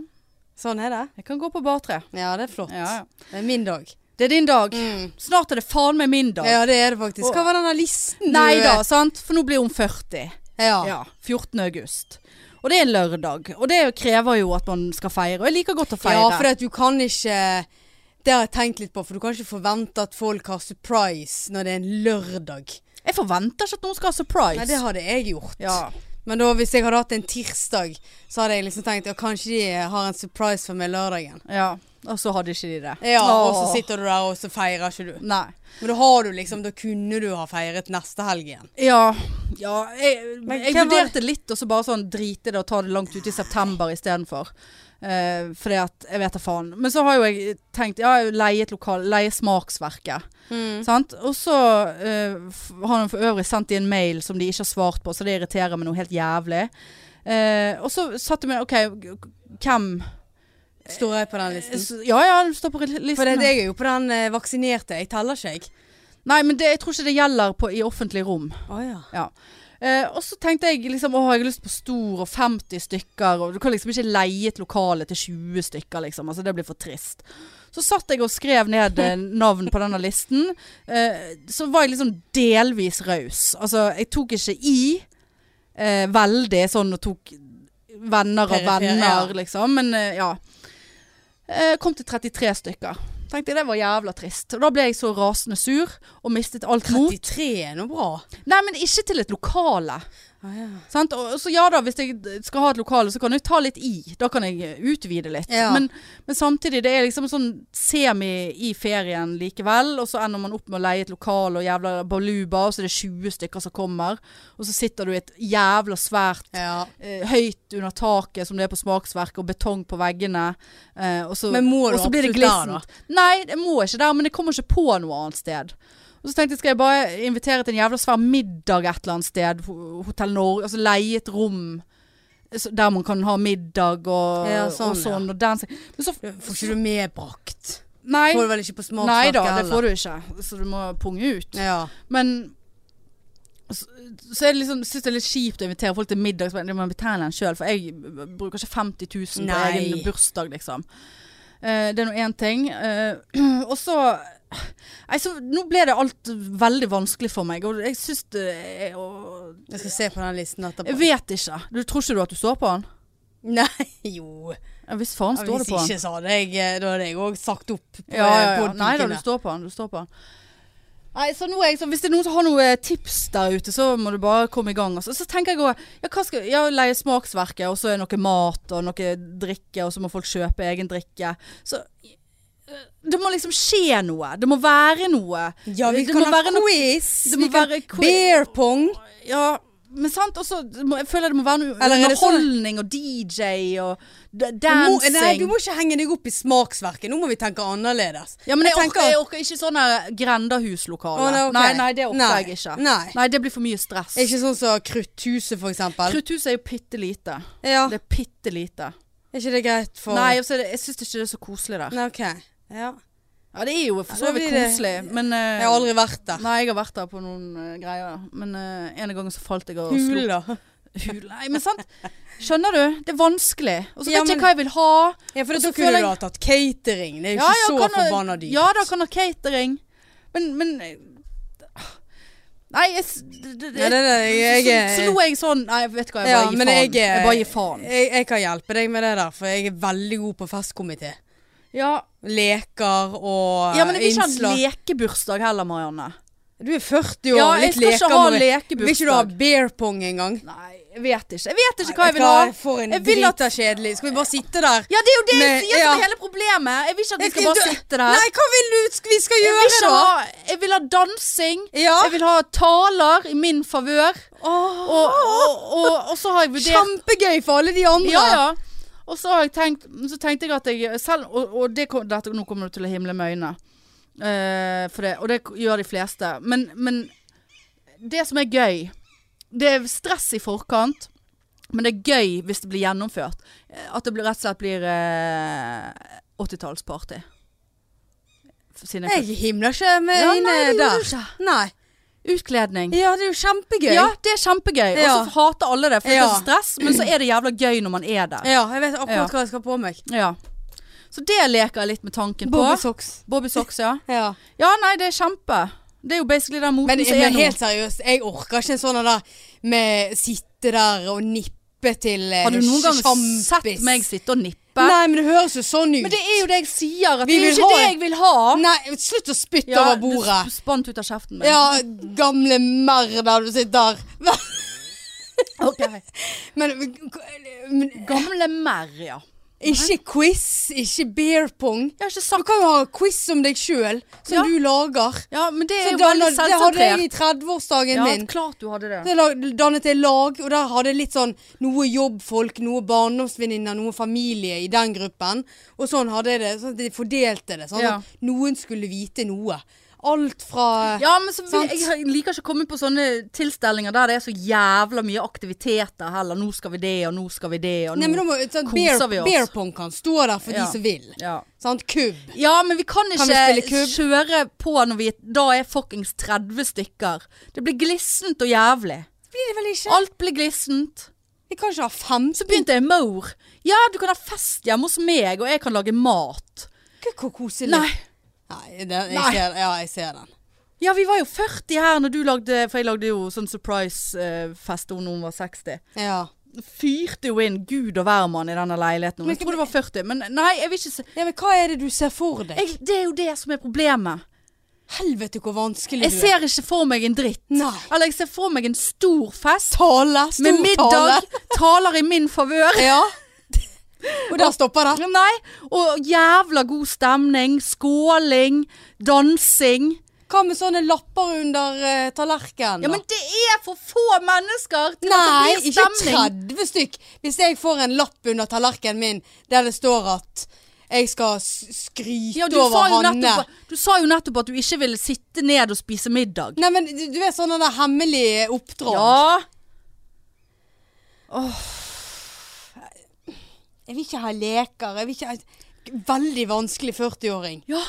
S2: Sånn er det.
S1: Jeg kan gå på bartre.
S2: Ja, det er flott.
S1: Ja, ja.
S2: Det er min dag.
S1: Det er din dag. Snart er det faen meg min dag.
S2: Mm. Ja, det er det faktisk. Hva
S1: Åh.
S2: var denne listen?
S1: Nei
S2: du-
S1: da, sant? For nå blir hun 40.
S2: Ja.
S1: Ja. 14. august. Og det er en lørdag. Og det krever jo at man skal feire. Og jeg liker godt å feire.
S2: for at du kan ikke det det har jeg tenkt litt på, for du kan ikke forvente at folk har surprise når det er en lørdag.
S1: Jeg forventer ikke at noen skal ha surprise.
S2: Nei, det hadde jeg gjort.
S1: ja.
S2: Men da, hvis jeg hadde hatt en tirsdag, så hadde jeg liksom tenkt ja, kanskje de har en surprise for meg lørdagen.
S1: ja. Og så hadde ikke de det.
S2: Ja, og så
S1: Åh.
S2: sitter du der, og så feirer ikke du.
S1: Nei.
S2: Men da har du liksom, da kunne du ha feiret neste helg igjen.
S1: Ja, ja Jeg,
S2: Men
S1: jeg
S2: hvem var-
S1: vurderte litt, og så bare sånn drite det og ta det langt ut i september istedenfor. Uh, fordi at Jeg vet da faen. Men så har jo jeg tenkt Ja, jeg har leiet lokal, leie Smaksverket.
S2: Mm.
S1: Sant? Og så eh, f- har han for øvrig sendt de en mail som de ikke har svart på, så det irriterer meg noe helt jævlig. Eh, og så satte jeg meg OK, g- g- hvem
S2: Står jeg på den listen?
S1: S- Ja ja, det står på li- listen.
S2: Mm. Eh, For det,
S1: her.
S2: jeg er jo på den eh, vaksinerte. Jeg teller ikke, jeg.
S1: Nei, men det, jeg tror ikke det gjelder på, i offentlig rom.
S2: Å ja.
S1: Eh, og så tenkte jeg liksom, å, jeg har lyst på stor og 50 stykker, og du kan liksom ikke leie et lokale til 20 stykker, liksom. Altså, det blir for trist. Så satt jeg og skrev ned eh, navn på denne listen. Eh, så var jeg liksom delvis raus. Altså, jeg tok ikke i eh, veldig sånn og tok venner av
S2: Perifer, ja.
S1: venner, liksom. Men eh, ja. Eh, kom til 33 stykker. Tenkte jeg, det var jævla trist. Og da ble jeg så rasende sur, og mistet alt mot.
S2: 33 er nå bra.
S1: Nei, men ikke til et lokale.
S2: Å ja.
S1: Sant? Og og så ja da, hvis jeg d- skal ha et lokale, så kan jeg ta litt i. Da kan jeg eh, utvide litt.
S2: Ja.
S1: Men, men samtidig, det er liksom sånn semi i ferien likevel. Og så ender man opp med å leie et lokale og jævla baluba, og så er det 20 stykker som kommer. Og så sitter du i et jævla svært
S2: ja.
S1: eh, høyt under taket, som det er på Smaksverket, og betong på veggene. eh, og så,
S2: Men må du
S1: og så blir det
S2: absolutt der,
S1: glissent. Nei, jeg må ikke der, men jeg kommer ikke på noe annet sted. Og så tenkte jeg, skal jeg bare invitere til en jævla svær middag et eller annet sted, ho- Hotell Norge, altså leie et rom eh, så- der man kan ha middag og,
S2: Ja,
S1: og
S2: sånn, ja.
S1: sånn, og dans. Men så,
S2: Du Får ikke du medbrakt?
S1: nei,
S2: Får du vel ikke på
S1: nei
S2: smaksverket
S1: da, det får du ikke. Så du må punge ut.
S2: Ja.
S1: Men så, så er det liksom, synes jeg det er litt kjipt å invitere folk til middag. så bare, Man betaler den sjøl, for jeg bruker ikke 50 000 på
S2: Nei.
S1: egen bursdag, liksom. Eh, det er nå én ting. Eh, og så Nei, så nå ble det alt veldig vanskelig for meg. Og jeg syns det jeg, og,
S2: Jeg skal se på den listen
S1: jeg
S2: etterpå.
S1: vet ikke. Du tror ikke du at du står på den?
S2: Nei, jo.
S1: Ja, hvis faen
S2: Ja,
S1: står
S2: Hvis
S1: det på den.
S2: ikke så hadde jeg, eh, da hadde jeg òg sagt opp eh, på
S1: Ja, ja, ja.
S2: podpikene.
S1: Nei da, du står eh, på den. Du står på den. Nei, så nå er jeg, så Hvis det er noen som har noen tips der ute, så må du bare komme i gang. Altså. Så tenker jeg òg ja, hva skal- ja, leie smaksverket, og så er det noe mat og noe drikke, og så må folk kjøpe egen drikke. Så eh, det må liksom skje noe. Det må være noe.
S2: Ja, vi
S1: Det
S2: kan
S1: må
S2: ha
S1: være noe-
S2: quiz.
S1: det må
S2: Vi kan
S1: være quiz.
S2: beer pong.
S1: Ja, men sant? Og så må- jeg føler jeg det må være noe
S2: Eller er det sånn-
S1: underholdning og DJ og d-
S2: Du må- Nei, du
S1: dancing.
S2: må ikke henge deg opp i smaksverket. Nå må vi tenke annerledes.
S1: Ja, men jeg,
S2: Jeg
S1: orker,
S2: tenker-
S1: jeg orker ikke sånn her Grendahuslokale.
S2: Å, nei, ok.
S1: nei, nei, det orker
S2: Nei.
S1: jeg ikke.
S2: Nei.
S1: nei, det blir for mye stress.
S2: Ikke sånn som Krutthuset, for eksempel.
S1: Krutthuset er jo bitte lite.
S2: ja.
S1: Det er bitte lite.
S2: Er ikke det greit for
S1: Nei, altså, det- jeg syns ikke det er så koselig der.
S2: Nei, OK. Ja.
S1: Ja, det er jo for så
S2: Ja, da
S1: vidt
S2: blir det-
S1: koselig, men eh,
S2: Jeg har aldri vært der.
S1: Nei, jeg har vært der på noen eh, greier, men eh, en gang så falt jeg og slo
S2: Hula.
S1: hul. Nei, men sant? Skjønner du? Det er vanskelig. Og så vet
S2: Ja,
S1: jeg
S2: men-
S1: ikke hva jeg vil ha.
S2: Ja, for
S1: Og
S2: da
S1: så
S2: kunne
S1: føler
S2: du
S1: jeg-
S2: ha tatt catering. Det er jo ikke så
S1: kan ha-
S2: forbanna dyrt.
S1: Ja da, kan ha catering. Men, men eh, Nei, jeg, s- det, det,
S2: Nei, det- det- jeg-
S1: så, så,
S2: jeg-
S1: så nå er jeg sånn Nei, vet du hva, jeg
S2: Ja,
S1: bare gir
S2: men
S1: faen.
S2: jeg er-
S1: Jeg bare gir faen.
S2: jeg, jeg kan hjelpe deg med det der, for jeg er veldig god på festkomité.
S1: Ja,
S2: Leker og
S1: ja men jeg vil ikke ha
S2: innslag.
S1: en lekebursdag heller, Marianne.
S2: Du er 40 år,
S1: Ja, jeg
S2: litt
S1: skal
S2: leker
S1: ikke ha
S2: må vi- Vil ikke du ha
S1: lekebursdag.
S2: beer pong engang?
S1: Nei, jeg vet ikke. Jeg vet ikke hva jeg vil ha.
S2: For en
S1: Jeg vil at-
S2: drita kjedelig. Skal vi bare sitte der?
S1: Ja, det er jo det jeg
S2: Men-
S1: sier som
S2: ja.
S1: er hele problemet. Jeg vil ikke at vi
S2: Jeg
S1: skal bare sitte der.
S2: Nei, hva vil du sk- vi skal
S1: jeg, vil
S2: gjøre
S1: ikke Ah.
S2: da?
S1: ha, jeg vil ha dansing.
S2: Ja.
S1: Jeg vil ha taler i min favør.
S2: Åh,
S1: Og, og, og, og så har jeg vurdert
S2: kjempegøy for alle de andre.
S1: Ja, ja. Og så, har jeg tenkt, så tenkte jeg at jeg selv Og, og det, kom- dette, nå kommer du til å himle med øynene. Eh, for det, og det gjør de fleste. Men, men det som er gøy Det er stress i forkant, men det er gøy hvis det blir gjennomført. Eh, At det blir, rett og slett blir eh, 80-tallsparty. Siden jeg
S2: Jeg himler ikke med
S1: Ja,
S2: øynene
S1: nei, det gjorde
S2: der.
S1: du ikke.
S2: Nei.
S1: Utkledning.
S2: Ja, det er jo kjempegøy.
S1: Ja, det er kjempegøy.
S2: Ja.
S1: Og så hater alle det, for det
S2: Ja.
S1: er så stress. Men så er det jævla gøy når man er der.
S2: Ja, jeg vet akkurat
S1: Ja.
S2: hva jeg skal på meg.
S1: Ja. Så det leker jeg litt med tanken på.
S2: Bobbysocks.
S1: Bobby socks, ja.
S2: Ja.
S1: Ja, nei, det er kjempe. Det er jo basically den moten
S2: Men,
S1: som er
S2: men
S1: nå.
S2: helt seriøst, jeg orker ikke en sånn der med sitte der og nippe til eh,
S1: Har du noen gang
S2: sjampis.
S1: sett meg sitte og nippe? kjøpe.
S2: Nei, men det høres jo sånn ut.
S1: Men det er jo det jeg sier, at
S2: Vi
S1: det er
S2: vil
S1: ikke
S2: ha
S1: det
S2: en-
S1: jeg vil ha.
S2: Nei, slutt å spytte
S1: Ja,
S2: over
S1: det
S2: bordet.
S1: sp- spant ut av kjeften min.
S2: Ja, gamle merr der du sitter.
S1: Ok.
S2: Men, men
S1: Gamle merr, ja.
S2: ikke quiz, ikke beer pong.
S1: Jeg har ikke
S2: Du
S1: sagt
S2: kan jo ha quiz om deg sjøl, som
S1: Ja.
S2: du lager.
S1: Ja, men det er
S2: Så
S1: jo
S2: danner,
S1: veldig
S2: det hadde jeg
S1: selvsentrert.
S2: i 30-årsdagen
S1: Ja,
S2: min.
S1: klart du hadde det.
S2: Da la- dannet jeg lag, og der hadde jeg litt sånn noe jobbfolk, noe barndomsvenninner, noe familie i den gruppen. Og sånn hadde jeg det. sånn at De fordelte det. Sånn
S1: Ja.
S2: at noen skulle vite noe. Alt fra
S1: Ja, men så,
S2: Sant.
S1: jeg liker ikke å komme på sånne tilstelninger der det er så jævla mye aktiviteter heller. Nå skal vi det, og nå skal vi det, og nå
S2: Nei, men da må sånn,
S1: koser
S2: bear,
S1: vi oss.
S2: bear pong kan stå der for
S1: Ja.
S2: de som vil.
S1: ja.
S2: Sant? Kubb.
S1: ja, men vi kan
S2: Kan vi spille
S1: ikke
S2: kubb?
S1: kjøre på når vi da er fuckings 30 stykker. Det blir glissent og jævlig.
S2: Blir det vel ikke?
S1: Alt blir glissent.
S2: Vi kan ikke ha fem som
S1: Begynte jeg maur. Ja, du kan ha fest hjemme hos meg, og jeg kan lage mat.
S2: Gud, hvor koselig.
S1: Nei.
S2: Nei, det, jeg
S1: Nei.
S2: Ser, ja, jeg ser den.
S1: Ja, vi var jo 40 her når du lagde For jeg lagde jo sånn surprise-fest da hun var 60.
S2: Ja.
S1: fyrte jo inn gud og hvermann i denne leiligheten.
S2: Men
S1: Jeg tror det var 40, men nei, jeg vil ikke se
S2: ja, men hva er det du ser for deg?
S1: jeg, Det er jo det som er problemet.
S2: Helvete, hvor vanskelig
S1: Jeg
S2: du er.
S1: ser ikke for meg en dritt.
S2: Nei.
S1: Eller jeg ser for meg en stor fest
S2: Tale. Stor
S1: med middag,
S2: tale.
S1: taler i min favør.
S2: Ja. Og der stopper det.
S1: Nei, og jævla god stemning, skåling, dansing.
S2: Hva med sånne lapper under eh, tallerkenen?
S1: Ja,
S2: da?
S1: men det er for få mennesker til
S2: Nei,
S1: at det blir
S2: ikke
S1: stemning.
S2: 30 stykk. Hvis jeg får en lapp under tallerkenen min der det står at jeg skal s- skryte
S1: Ja, du, sa
S2: over
S1: jo
S2: Hanne
S1: nettopp, du sa jo nettopp at du ikke ville sitte ned og spise middag.
S2: Nei, men du, du er sånn der hemmelig oppdrag.
S1: Ja.
S2: Jeg vil ikke ha leker. Jeg vil ikke ha Veldig vanskelig 40-åring.
S1: ja.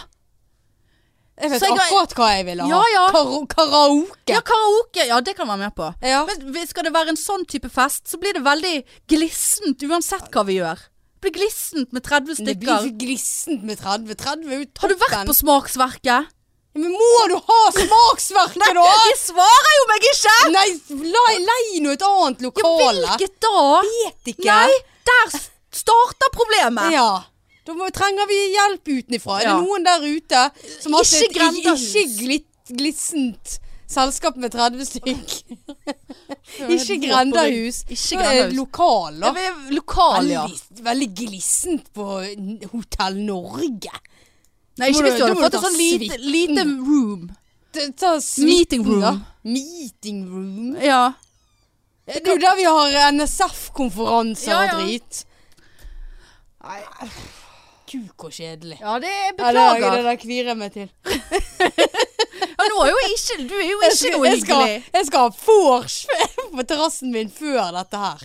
S2: Jeg vet
S1: Så jeg kan-
S2: akkurat hva jeg vil ha.
S1: Ja, ja.
S2: Karo- karaoke.
S1: Ja, karaoke. Ja, det kan jeg være med på.
S2: Ja.
S1: Men hvis- skal det være en sånn type fest, så blir det veldig glissent uansett hva vi gjør. Det blir glissent med 30
S2: det blir
S1: stykker.
S2: ikke glissent med 30. 30 er jo toppen.
S1: Har du vært på Smaksverket?
S2: Men må du ha smaksverket, da?
S1: De svarer jo meg ikke!
S2: Nei, lei, lei nå et annet
S1: Ja,
S2: lokale.
S1: hvilket da?
S2: vet ikke.
S1: Nei, der s- starter problemet.
S2: Ja. Da må, trenger vi hjelp utenfra. Er
S1: Ja.
S2: det noen der ute som har
S1: Ikke
S2: hatt et ikke,
S1: grendehus.
S2: ikke glitt, glissent selskap med 30 stykk? ikke grendehus.
S1: Ikke
S2: Da er
S1: grendehus.
S2: det Lokal, da.
S1: Ja, vi er lokal, ja.
S2: Veldig, veldig glissent på N- Hotell Norge.
S1: Nei, ikke
S2: Må
S1: hvis du
S2: du- da
S1: hadde
S2: må du
S1: fått
S2: ta
S1: et sånn lite,
S2: suiten.
S1: lite room.
S2: Det- Ta
S1: Meeting
S2: suiten, da.
S1: room.
S2: Meeting room.
S1: Ja.
S2: Det er jo der vi har NSF-konferanser
S1: Ja,
S2: og
S1: ja.
S2: drit. Gud, hvor kjedelig.
S1: Ja, det er
S2: Ja, det, er- det
S1: beklager.
S2: der kvier jeg meg til.
S1: Ja, nå er jo ikke, du er jo
S2: Jeg
S1: ikke
S2: skal,
S1: noe
S2: jeg skal,
S1: hyggelig.
S2: jeg skal ha vors på terrassen min før dette her.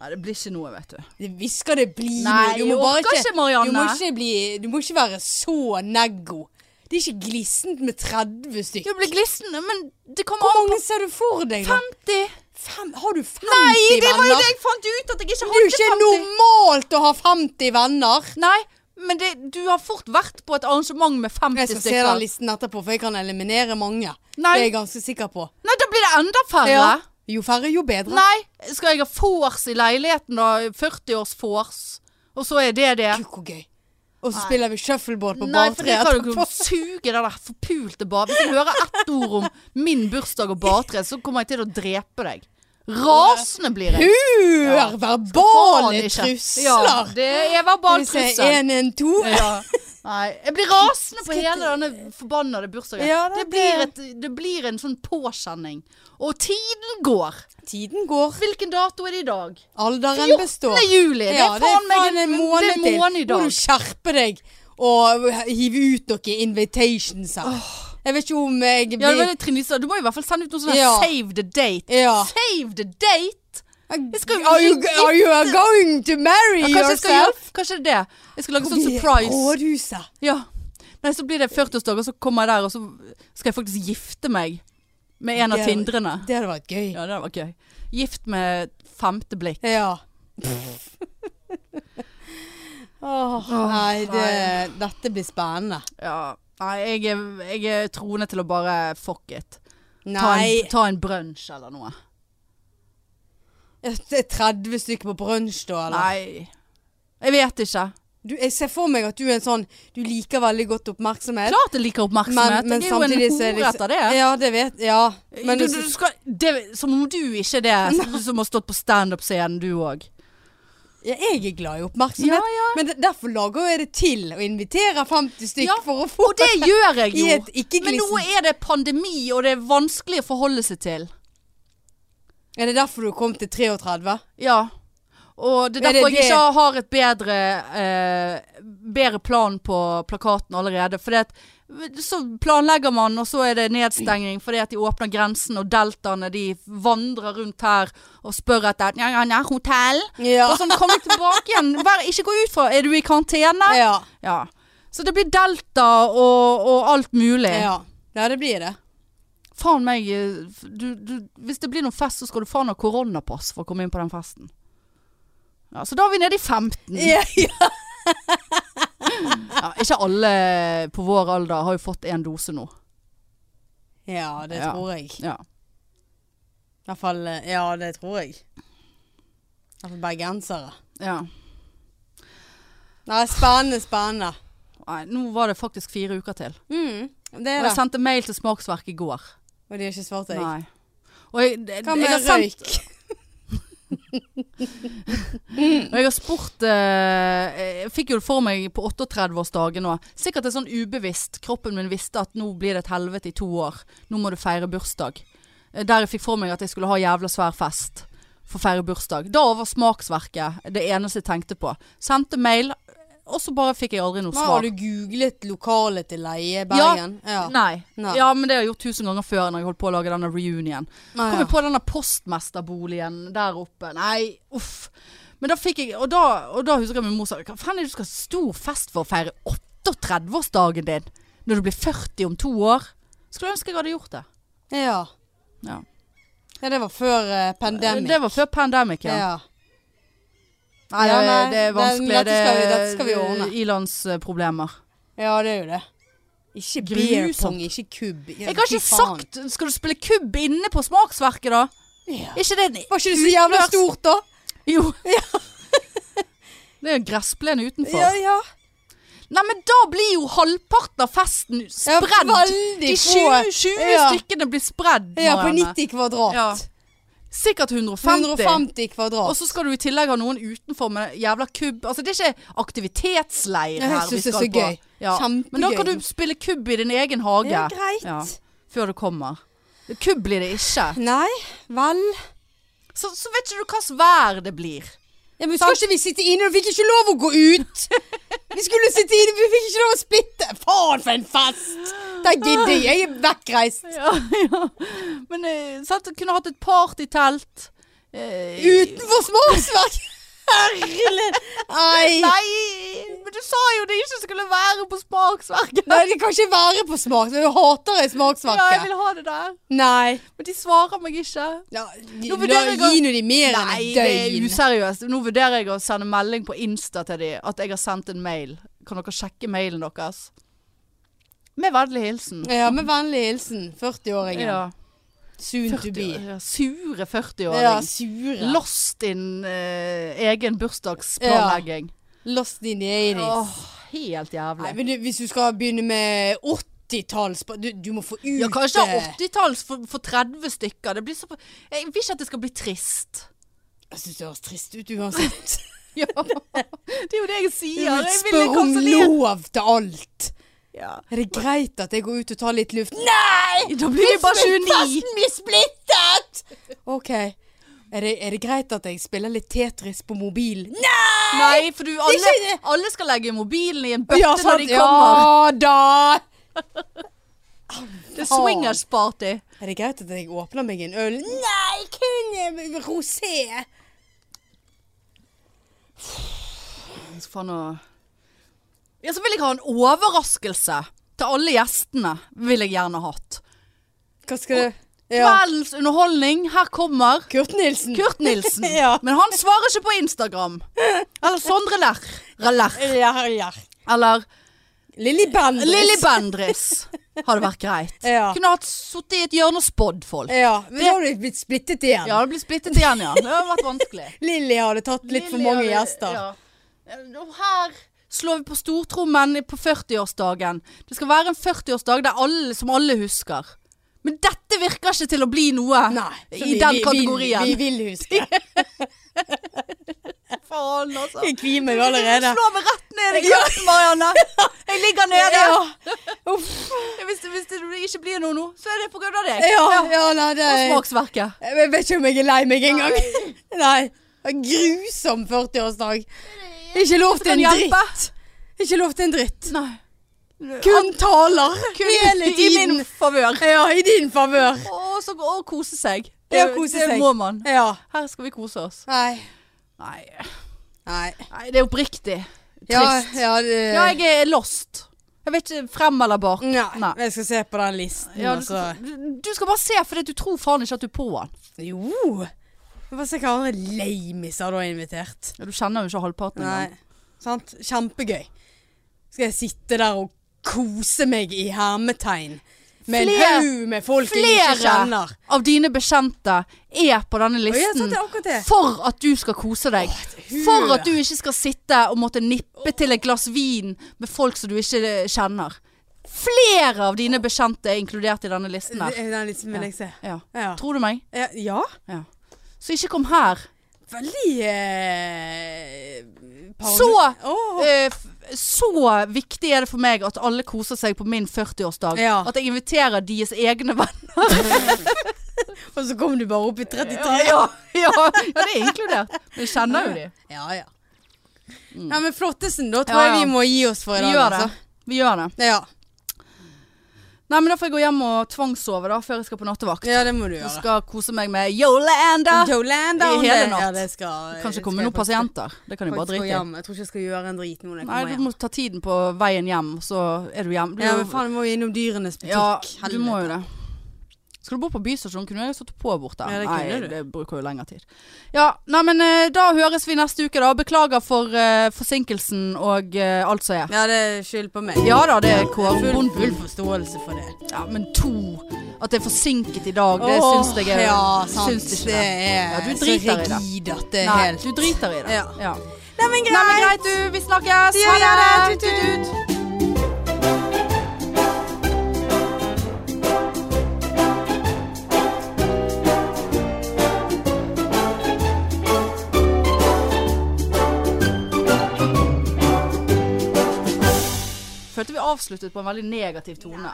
S1: Nei, det blir ikke noe, vet du.
S2: Det- Hvis skal det bli
S1: Nei,
S2: noe. Du må
S1: jeg
S2: bare
S1: orker ikke, Marianne.
S2: Du må ikke, bli, du må ikke være så neggo. Det er ikke glissent med 30 stykker.
S1: Det blir glissende, men det kommer
S2: Hvor
S1: an på
S2: mange ser du for deg? da?
S1: 50.
S2: Fem, har du 50
S1: Nei, det var jo
S2: venner?
S1: det jeg fant ut at jeg ikke
S2: Det er jo
S1: hadde
S2: ikke
S1: 50.
S2: normalt å ha 50 venner.
S1: Nei, men det, du har fort vært på et arrangement med 50
S2: Jeg skal se den
S1: stykker.
S2: listen etterpå, for jeg kan eliminere mange.
S1: Nei.
S2: Det er jeg ganske sikker på.
S1: Nei, da blir det enda færre.
S2: Jo færre, jo bedre.
S1: Nei, skal jeg ha vors i leiligheten da? 40-års vors. Og så er det det.
S2: Gud, hvor gøy. Og så spiller vi shuffleboard på
S1: Nei, for det
S2: bartreet
S1: kan du
S2: etterpå.
S1: ikke suge det der forpulte bar. Hvis jeg hører ett ord om min bursdag og bartre, så kommer jeg til å drepe deg. Rasende blir jeg.
S2: Hør,
S1: Faen
S2: verbale
S1: ikke.
S2: trusler!
S1: Ja, det er verbal
S2: Skal vi se,
S1: trussel.
S2: en, en, to.
S1: Ja. Nei, jeg blir rasende på hele denne forbannede bursdagen.
S2: Ja,
S1: det,
S2: det-
S1: blir et, det blir en sånn påkjenning. Og tiden går.
S2: Tiden går.
S1: Hvilken dato er det i dag?
S2: Alderen
S1: 14.
S2: består.
S1: juli! Det
S2: Ja,
S1: er faen meg en,
S2: en
S1: det er
S2: måned til.
S1: måned i
S2: Må
S1: dag.
S2: du skjerpe deg og hive ut noen invitations her. Jeg vet ikke om jeg
S1: Ja, det
S2: blir
S1: var det Trine Lise sa. Du må i hvert fall sende ut noe sånt der
S2: Ja.
S1: save the date.
S2: Ja.
S1: Save the date! Jeg skal jo
S2: Are you,
S1: gi-
S2: are you going to marry
S1: Ja, kanskje, jeg skal
S2: yourself?
S1: gjøre, kanskje det er det. Jeg skal lage en sånn
S2: Vi er
S1: surprise.
S2: Rådhuset.
S1: Ja. Nei, så blir det 40-årsdag, og så kommer jeg der, og så skal jeg faktisk gifte meg med en av
S2: Det-
S1: tindrene.
S2: Det hadde vært gøy.
S1: Ja, det var gøy. Gift med femte blikk.
S2: Ja. Åh, nei, det, dette blir spennende.
S1: Ja. Nei, jeg er, jeg er troende til å bare fuck it. Ta en,
S2: Nei.
S1: ta en brunsj eller noe.
S2: Det er 30 stykker på brunsj da, eller?
S1: Nei. Jeg vet ikke.
S2: Du, jeg ser for meg at du er en sånn Du liker veldig godt oppmerksomhet.
S1: Klart jeg liker oppmerksomhet.
S2: men
S1: jeg er
S2: samtidig
S1: jo
S2: så er
S1: en
S2: det-
S1: hore etter det.
S2: Ja, det vet Ja. Men
S1: du,
S2: du,
S1: du skal, det, som om du ikke er det som- som har stått på standup-scenen, du òg.
S2: ja, jeg er glad i oppmerksomhet.
S1: Ja,
S2: Men det, derfor lager jeg det til og inviterer 50 stykk
S1: Ja,
S2: for å få
S1: Og det gjør jeg
S2: i
S1: jo.
S2: et ikke
S1: Men nå
S2: glissen.
S1: er det pandemi, og det er vanskelig å forholde seg til.
S2: Er det derfor du kom til 33?
S1: Ja. Og det er
S2: Er det
S1: derfor jeg
S2: det-
S1: ikke har et bedre, eh, bedre plan på plakaten allerede. For det at, så planlegger man, og så er det nedstengning fordi at de åpner grensen, og deltaene de vandrer rundt her og spør etter ja, ja, ja, hotell.
S2: Ja.
S1: Og sånn, kom deg tilbake igjen. Vær, ikke gå ut fra Er du i karantene?
S2: ja.
S1: Ja. Så det blir delta og, og alt mulig.
S2: Ja. Ja, det blir det.
S1: Faen meg eh, f- du, du, Hvis det blir noen fest, så skal du faen ha koronapass for å komme inn på den festen. Ja, så da er vi nede i 15.
S2: Ja, ja.
S1: Ja, ikke alle på vår alder har jo fått én dose nå.
S2: ja det
S1: Ja.
S2: tror jeg. I
S1: Ja.
S2: hvert fall eh, Ja, det tror jeg. I hvert fall bergensere.
S1: ja.
S2: Nei, spennende, spennende.
S1: Nei, nå var det faktisk fire uker til.
S2: Mm, det
S1: Og
S2: er
S1: jeg
S2: det.
S1: sendte mail til Smaksverket i går.
S2: Og de har ikke svart deg.
S1: Nei. Og jeg, jeg,
S2: Hva
S1: jeg har
S2: med
S1: sendt-
S2: røyk?
S1: Og jeg har spurt eh, Jeg fikk jo det for meg på 38-årsdagen nå. Sikkert det er sånn ubevisst. Kroppen min visste at nå blir det et helvete i to år. Nå må du feire bursdag. Eh, Der jeg fikk for meg at jeg skulle ha jævla svær fest for å feire bursdag. Da var smaksverket det eneste jeg tenkte på. Sendte mail, og så bare fikk jeg aldri noe
S2: Men har
S1: svar.
S2: du googlet lokalet til leie i Bergen? Ja.
S1: Nei.
S2: Nei.
S1: Ja, men det har jeg gjort tusen ganger før når jeg holdt på å lage denne reunion.
S2: Ah,
S1: Kom
S2: ja.
S1: jeg på denne postmesterboligen der oppe. Nei, uff. Men da fikk jeg, og da, og da husker jeg min mor sa Hva faen er det du skal ha stor fest for å feire 38-årsdagen din? Når du blir 40 om to år? Skulle ønske jeg hadde gjort det.
S2: ja.
S1: Ja.
S2: Ja, det var før eh, pandemic.
S1: Det var før pandemic, ja.
S2: ja.
S1: Nei, det,
S2: Ja, nei,
S1: det er
S2: det-
S1: vanskelig.
S2: men dette
S1: det
S2: skal vi-
S1: er eh,
S2: dette skal vi ordne.
S1: Ilandsproblemer.
S2: ja, det er jo det. Ikke
S1: Grusomt.
S2: beer pong, ikke kubb. Ja,
S1: Jeg har ikke
S2: fy faen.
S1: sagt Skal du spille kubb inne på smaksverket, da?
S2: Ja.
S1: Er ikke det en
S2: Var ikke det så jævla
S1: Utløs.
S2: stort, da?
S1: Jo. Det er jo gressplen utenfor.
S2: Ja, ja.
S1: Nei, men da blir jo halvparten av festen
S2: Ja,
S1: spredd.
S2: veldig
S1: De
S2: få.
S1: 20, 20
S2: Ja.
S1: stykkene blir spredd.
S2: Ja, på
S1: Marianne.
S2: 90 kvadrat.
S1: Ja. Sikkert 150.
S2: 150 kvadrat.
S1: Og så skal du i tillegg ha noen utenfor med jævla kubb. Altså, det er ikke aktivitetsleir
S2: Ja, jeg
S1: her vi
S2: synes det er
S1: skal
S2: så
S1: på.
S2: gøy.
S1: Ja.
S2: Kjempegøy.
S1: Men da kan du spille kubb i din egen hage.
S2: Ja, greit.
S1: Ja, før du kommer. Kubb blir det ikke.
S2: Nei, vel.
S1: Så, så vet ikke du hva slags vær det blir.
S2: Ja, men skal ikke vi sitte inne? Du fikk ikke lov å gå ut! Vi skulle sitte inne, vi fikk ikke lov å splitte! Faen for en fest! Da gidder jeg, jeg er vekkreist.
S1: Ja, ja. Men eh, sant, du kunne hatt et partytelt. Eh,
S2: Utenfor småsverk! Herlig! Nei!
S1: Nei, men du sa jo det ikke skulle være på smaksverket.
S2: Nei, det kan ikke være på smaksverk. Jeg hater det
S1: Ja, jeg
S2: smaksverket.
S1: vil ha det der.
S2: Nei.
S1: Men de svarer meg ikke.
S2: Ja,
S1: Nå
S2: gi- da,
S1: vurderer jeg å-
S2: gi nå de mer enn
S1: Nei,
S2: et
S1: det er
S2: døgn.
S1: useriøst. Nå vurderer jeg å sende melding på Insta til de at jeg har sendt en mail. Kan dere sjekke mailen deres? Med vennlig hilsen.
S2: Ja, med vennlig hilsen. 40-åringen. Soon to be.
S1: 40 ja, sure
S2: Ja,
S1: 40-åring.
S2: sure.
S1: Lost in eh, egen bursdagsplanlegging.
S2: Lost in the 80s.
S1: Åh, helt
S2: Nei,
S1: jævlig.
S2: men du, hvis du skal begynne med 80-talls du, du må få ut
S1: Ja, kanskje
S2: eh,
S1: 80-talls for, for 30 stykker. Det blir så, jeg vil ikke at det skal bli trist.
S2: Jeg syns det høres trist ut uansett.
S1: Ja. Det er jo det jeg
S2: Du
S1: sier. Jeg ville
S2: spør om
S1: kansellert.
S2: lov til alt.
S1: Ja.
S2: Er det greit at jeg går ut og tar litt luft? Nei!
S1: Da blir vi bare 29.
S2: Festen blir splittet! OK. Er det, er det greit at jeg spiller litt Tetris på mobil? Nei!
S1: Nei, for du,
S2: Det er
S1: alle,
S2: ikke-
S1: alle skal legge mobilen i en bøtte når de kommer.
S2: ja da!
S1: Det er swingers-party.
S2: Er det greit at jeg åpner meg en øl? Nei, kun eh, rosé.
S1: Så faen å- Ja, så vil jeg ha en overraskelse til alle gjestene. Vil jeg gjerne hatt.
S2: Hva skal du Ja.
S1: Kveldens underholdning, her kommer
S2: Kurt Nilsen.
S1: Kurt Nilsen.
S2: Ja.
S1: Men han svarer ikke på Instagram. Eller Sondre Lerch. Lerch.
S2: Ja, ja.
S1: Eller
S2: Lilly Bendriss.
S1: Lilly Bendriss. Hadde vært greit.
S2: Ja.
S1: Kunne hatt sittet i et hjørne og spådd folk.
S2: Ja, men da har du blitt splittet igjen.
S1: Ja, det blir splittet igjen, ja. Det har vært vanskelig.
S2: Lilly hadde tatt litt for
S1: Lilly
S2: mange
S1: hadde-
S2: gjester.
S1: Ja. Og her slår vi på stortrommen på 40-årsdagen. Det skal være en 40-årsdag der alle- som alle husker. Men dette virker ikke til å bli noe
S2: så
S1: i den kategorien.
S2: Vi, vi vil huske.
S1: Faen, altså.
S2: Jeg kvier meg allerede.
S1: Slå meg rett ned i grøten, Marianne. Jeg ligger nede.
S2: Ja. Uff.
S1: Hvis, hvis det ikke blir noe nå, så er det på grunn av deg.
S2: Ja, ja, nei, det
S1: Og smaksverket.
S2: Jeg vet ikke om jeg er lei meg engang. Nei. Det var en Grusom 40-årsdag. Ikke lov til
S1: Kan
S2: en
S1: hjelpe.
S2: dritt. Ikke lov til en dritt.
S1: Nei.
S2: Kun taler.
S1: Kun I
S2: Hele
S1: min
S2: tiden.
S1: favør.
S2: Ja, i din favør.
S1: Og så og kose seg.
S2: Ja, kose
S1: det
S2: seg.
S1: må man.
S2: Ja.
S1: Her skal vi kose oss.
S2: Nei.
S1: Nei,
S2: Nei.
S1: Nei det er oppriktig. Trist.
S2: Ja,
S1: Ja,
S2: ja, det...
S1: jeg er lost. Jeg vet ikke frem eller bak.
S2: Nei.
S1: Nei.
S2: Men jeg skal se på den listen.
S1: Ja, du,
S2: altså.
S1: skal, du- du skal bare se, for du tror faen ikke at du er på den.
S2: Jo. Det var sikkert andre lamiser du har invitert.
S1: Ja, du kjenner jo ikke halvparten
S2: Nei.
S1: engang.
S2: Sant? Kjempegøy. Skal jeg sitte der og kose meg i hermetegn med en
S1: Flere-
S2: haug med folk jeg ikke
S1: Flere
S2: kjenner?
S1: av dine bekjente er på denne
S2: Å, ja,
S1: listen
S2: sant, det er akkurat det.
S1: for at du skal kose deg.
S2: hue.
S1: For at du ikke skal sitte og måtte nippe til et glass vin med folk som du ikke kjenner. Flere av dine bekjente er inkludert i denne listen her.
S2: Den listen vil jeg se.
S1: Ja.
S2: Ja.
S1: Tror du meg?
S2: Ja, ja.
S1: Ja. Så ikke kom her.
S2: Veldig eh, parano-
S1: Så-
S2: Åh.
S1: Eh, f- så viktig er det for meg at alle koser seg på min 40-årsdag.
S2: Ja.
S1: At jeg inviterer deres egne venner.
S2: Og så kom du bare opp i 33.
S1: ja, ja, ja, det er inkludert. Men jeg kjenner jo de.
S2: Ja, ja. Nei, men flottesen, da tror
S1: Mm. Ja,
S2: jeg
S1: ja.
S2: vi må gi oss for i
S1: Vi
S2: dag.
S1: gjør det. Vi gjør det.
S2: Altså. Ja.
S1: Nei, men da får jeg gå hjem og tvangssove da, før jeg skal på nattevakt.
S2: ja, det må du
S1: Jeg
S2: gjøre.
S1: skal kose meg med Yolanda.
S2: Jolanda
S1: I
S2: om
S1: hele
S2: det-
S1: natt.
S2: Ja, det skal,
S1: Kanskje
S2: det
S1: komme
S2: skal
S1: noen
S2: jeg faktisk-
S1: pasienter. Det kan jeg bare
S2: faktisk gå
S1: drite i.
S2: hjem. Jeg tror ikke jeg skal gjøre en drit nå når jeg
S1: Nei,
S2: kommer
S1: du
S2: hjem.
S1: må ta tiden på veien hjem, så er du hjemme. Du,
S2: Ja, men faen, må vi innom dyrenes butikk.
S1: ja, du
S2: Helvete.
S1: må jo det. Skal du bo på bystasjonen, kunne jeg stått på bort der.
S2: Ja, det
S1: nei,
S2: kunne du.
S1: det bruker jo lengre tid. Ja, nei, men eh, da høres vi neste uke, da. Beklager for eh, forsinkelsen og eh, alt som er.
S2: Ja, det er skyld på meg.
S1: Ja da, det er
S2: Full,
S1: Kåre
S2: full
S1: Bondbull.
S2: forståelse for det.
S1: Ja, men to At det er forsinket i dag, det
S2: Åh,
S1: syns jeg er
S2: Ja, sant.
S1: syns ikke
S2: det
S1: det.
S2: er
S1: Ja, du
S2: så
S1: driter i det.
S2: rigid at det er
S1: Nei,
S2: helt
S1: du driter i det.
S2: Ja.
S1: Ja.
S2: Nei, men
S1: Nei, men greit, du. Vi snakkes.
S2: Ja, ja, det. Tut, tut.
S1: Tut-tut. Følte vi avsluttet på en veldig negativ tone.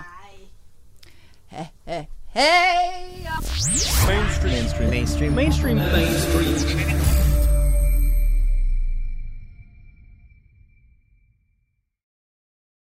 S1: He, he, hei!
S3: mainstream mainstream mainstream mainstream mainstream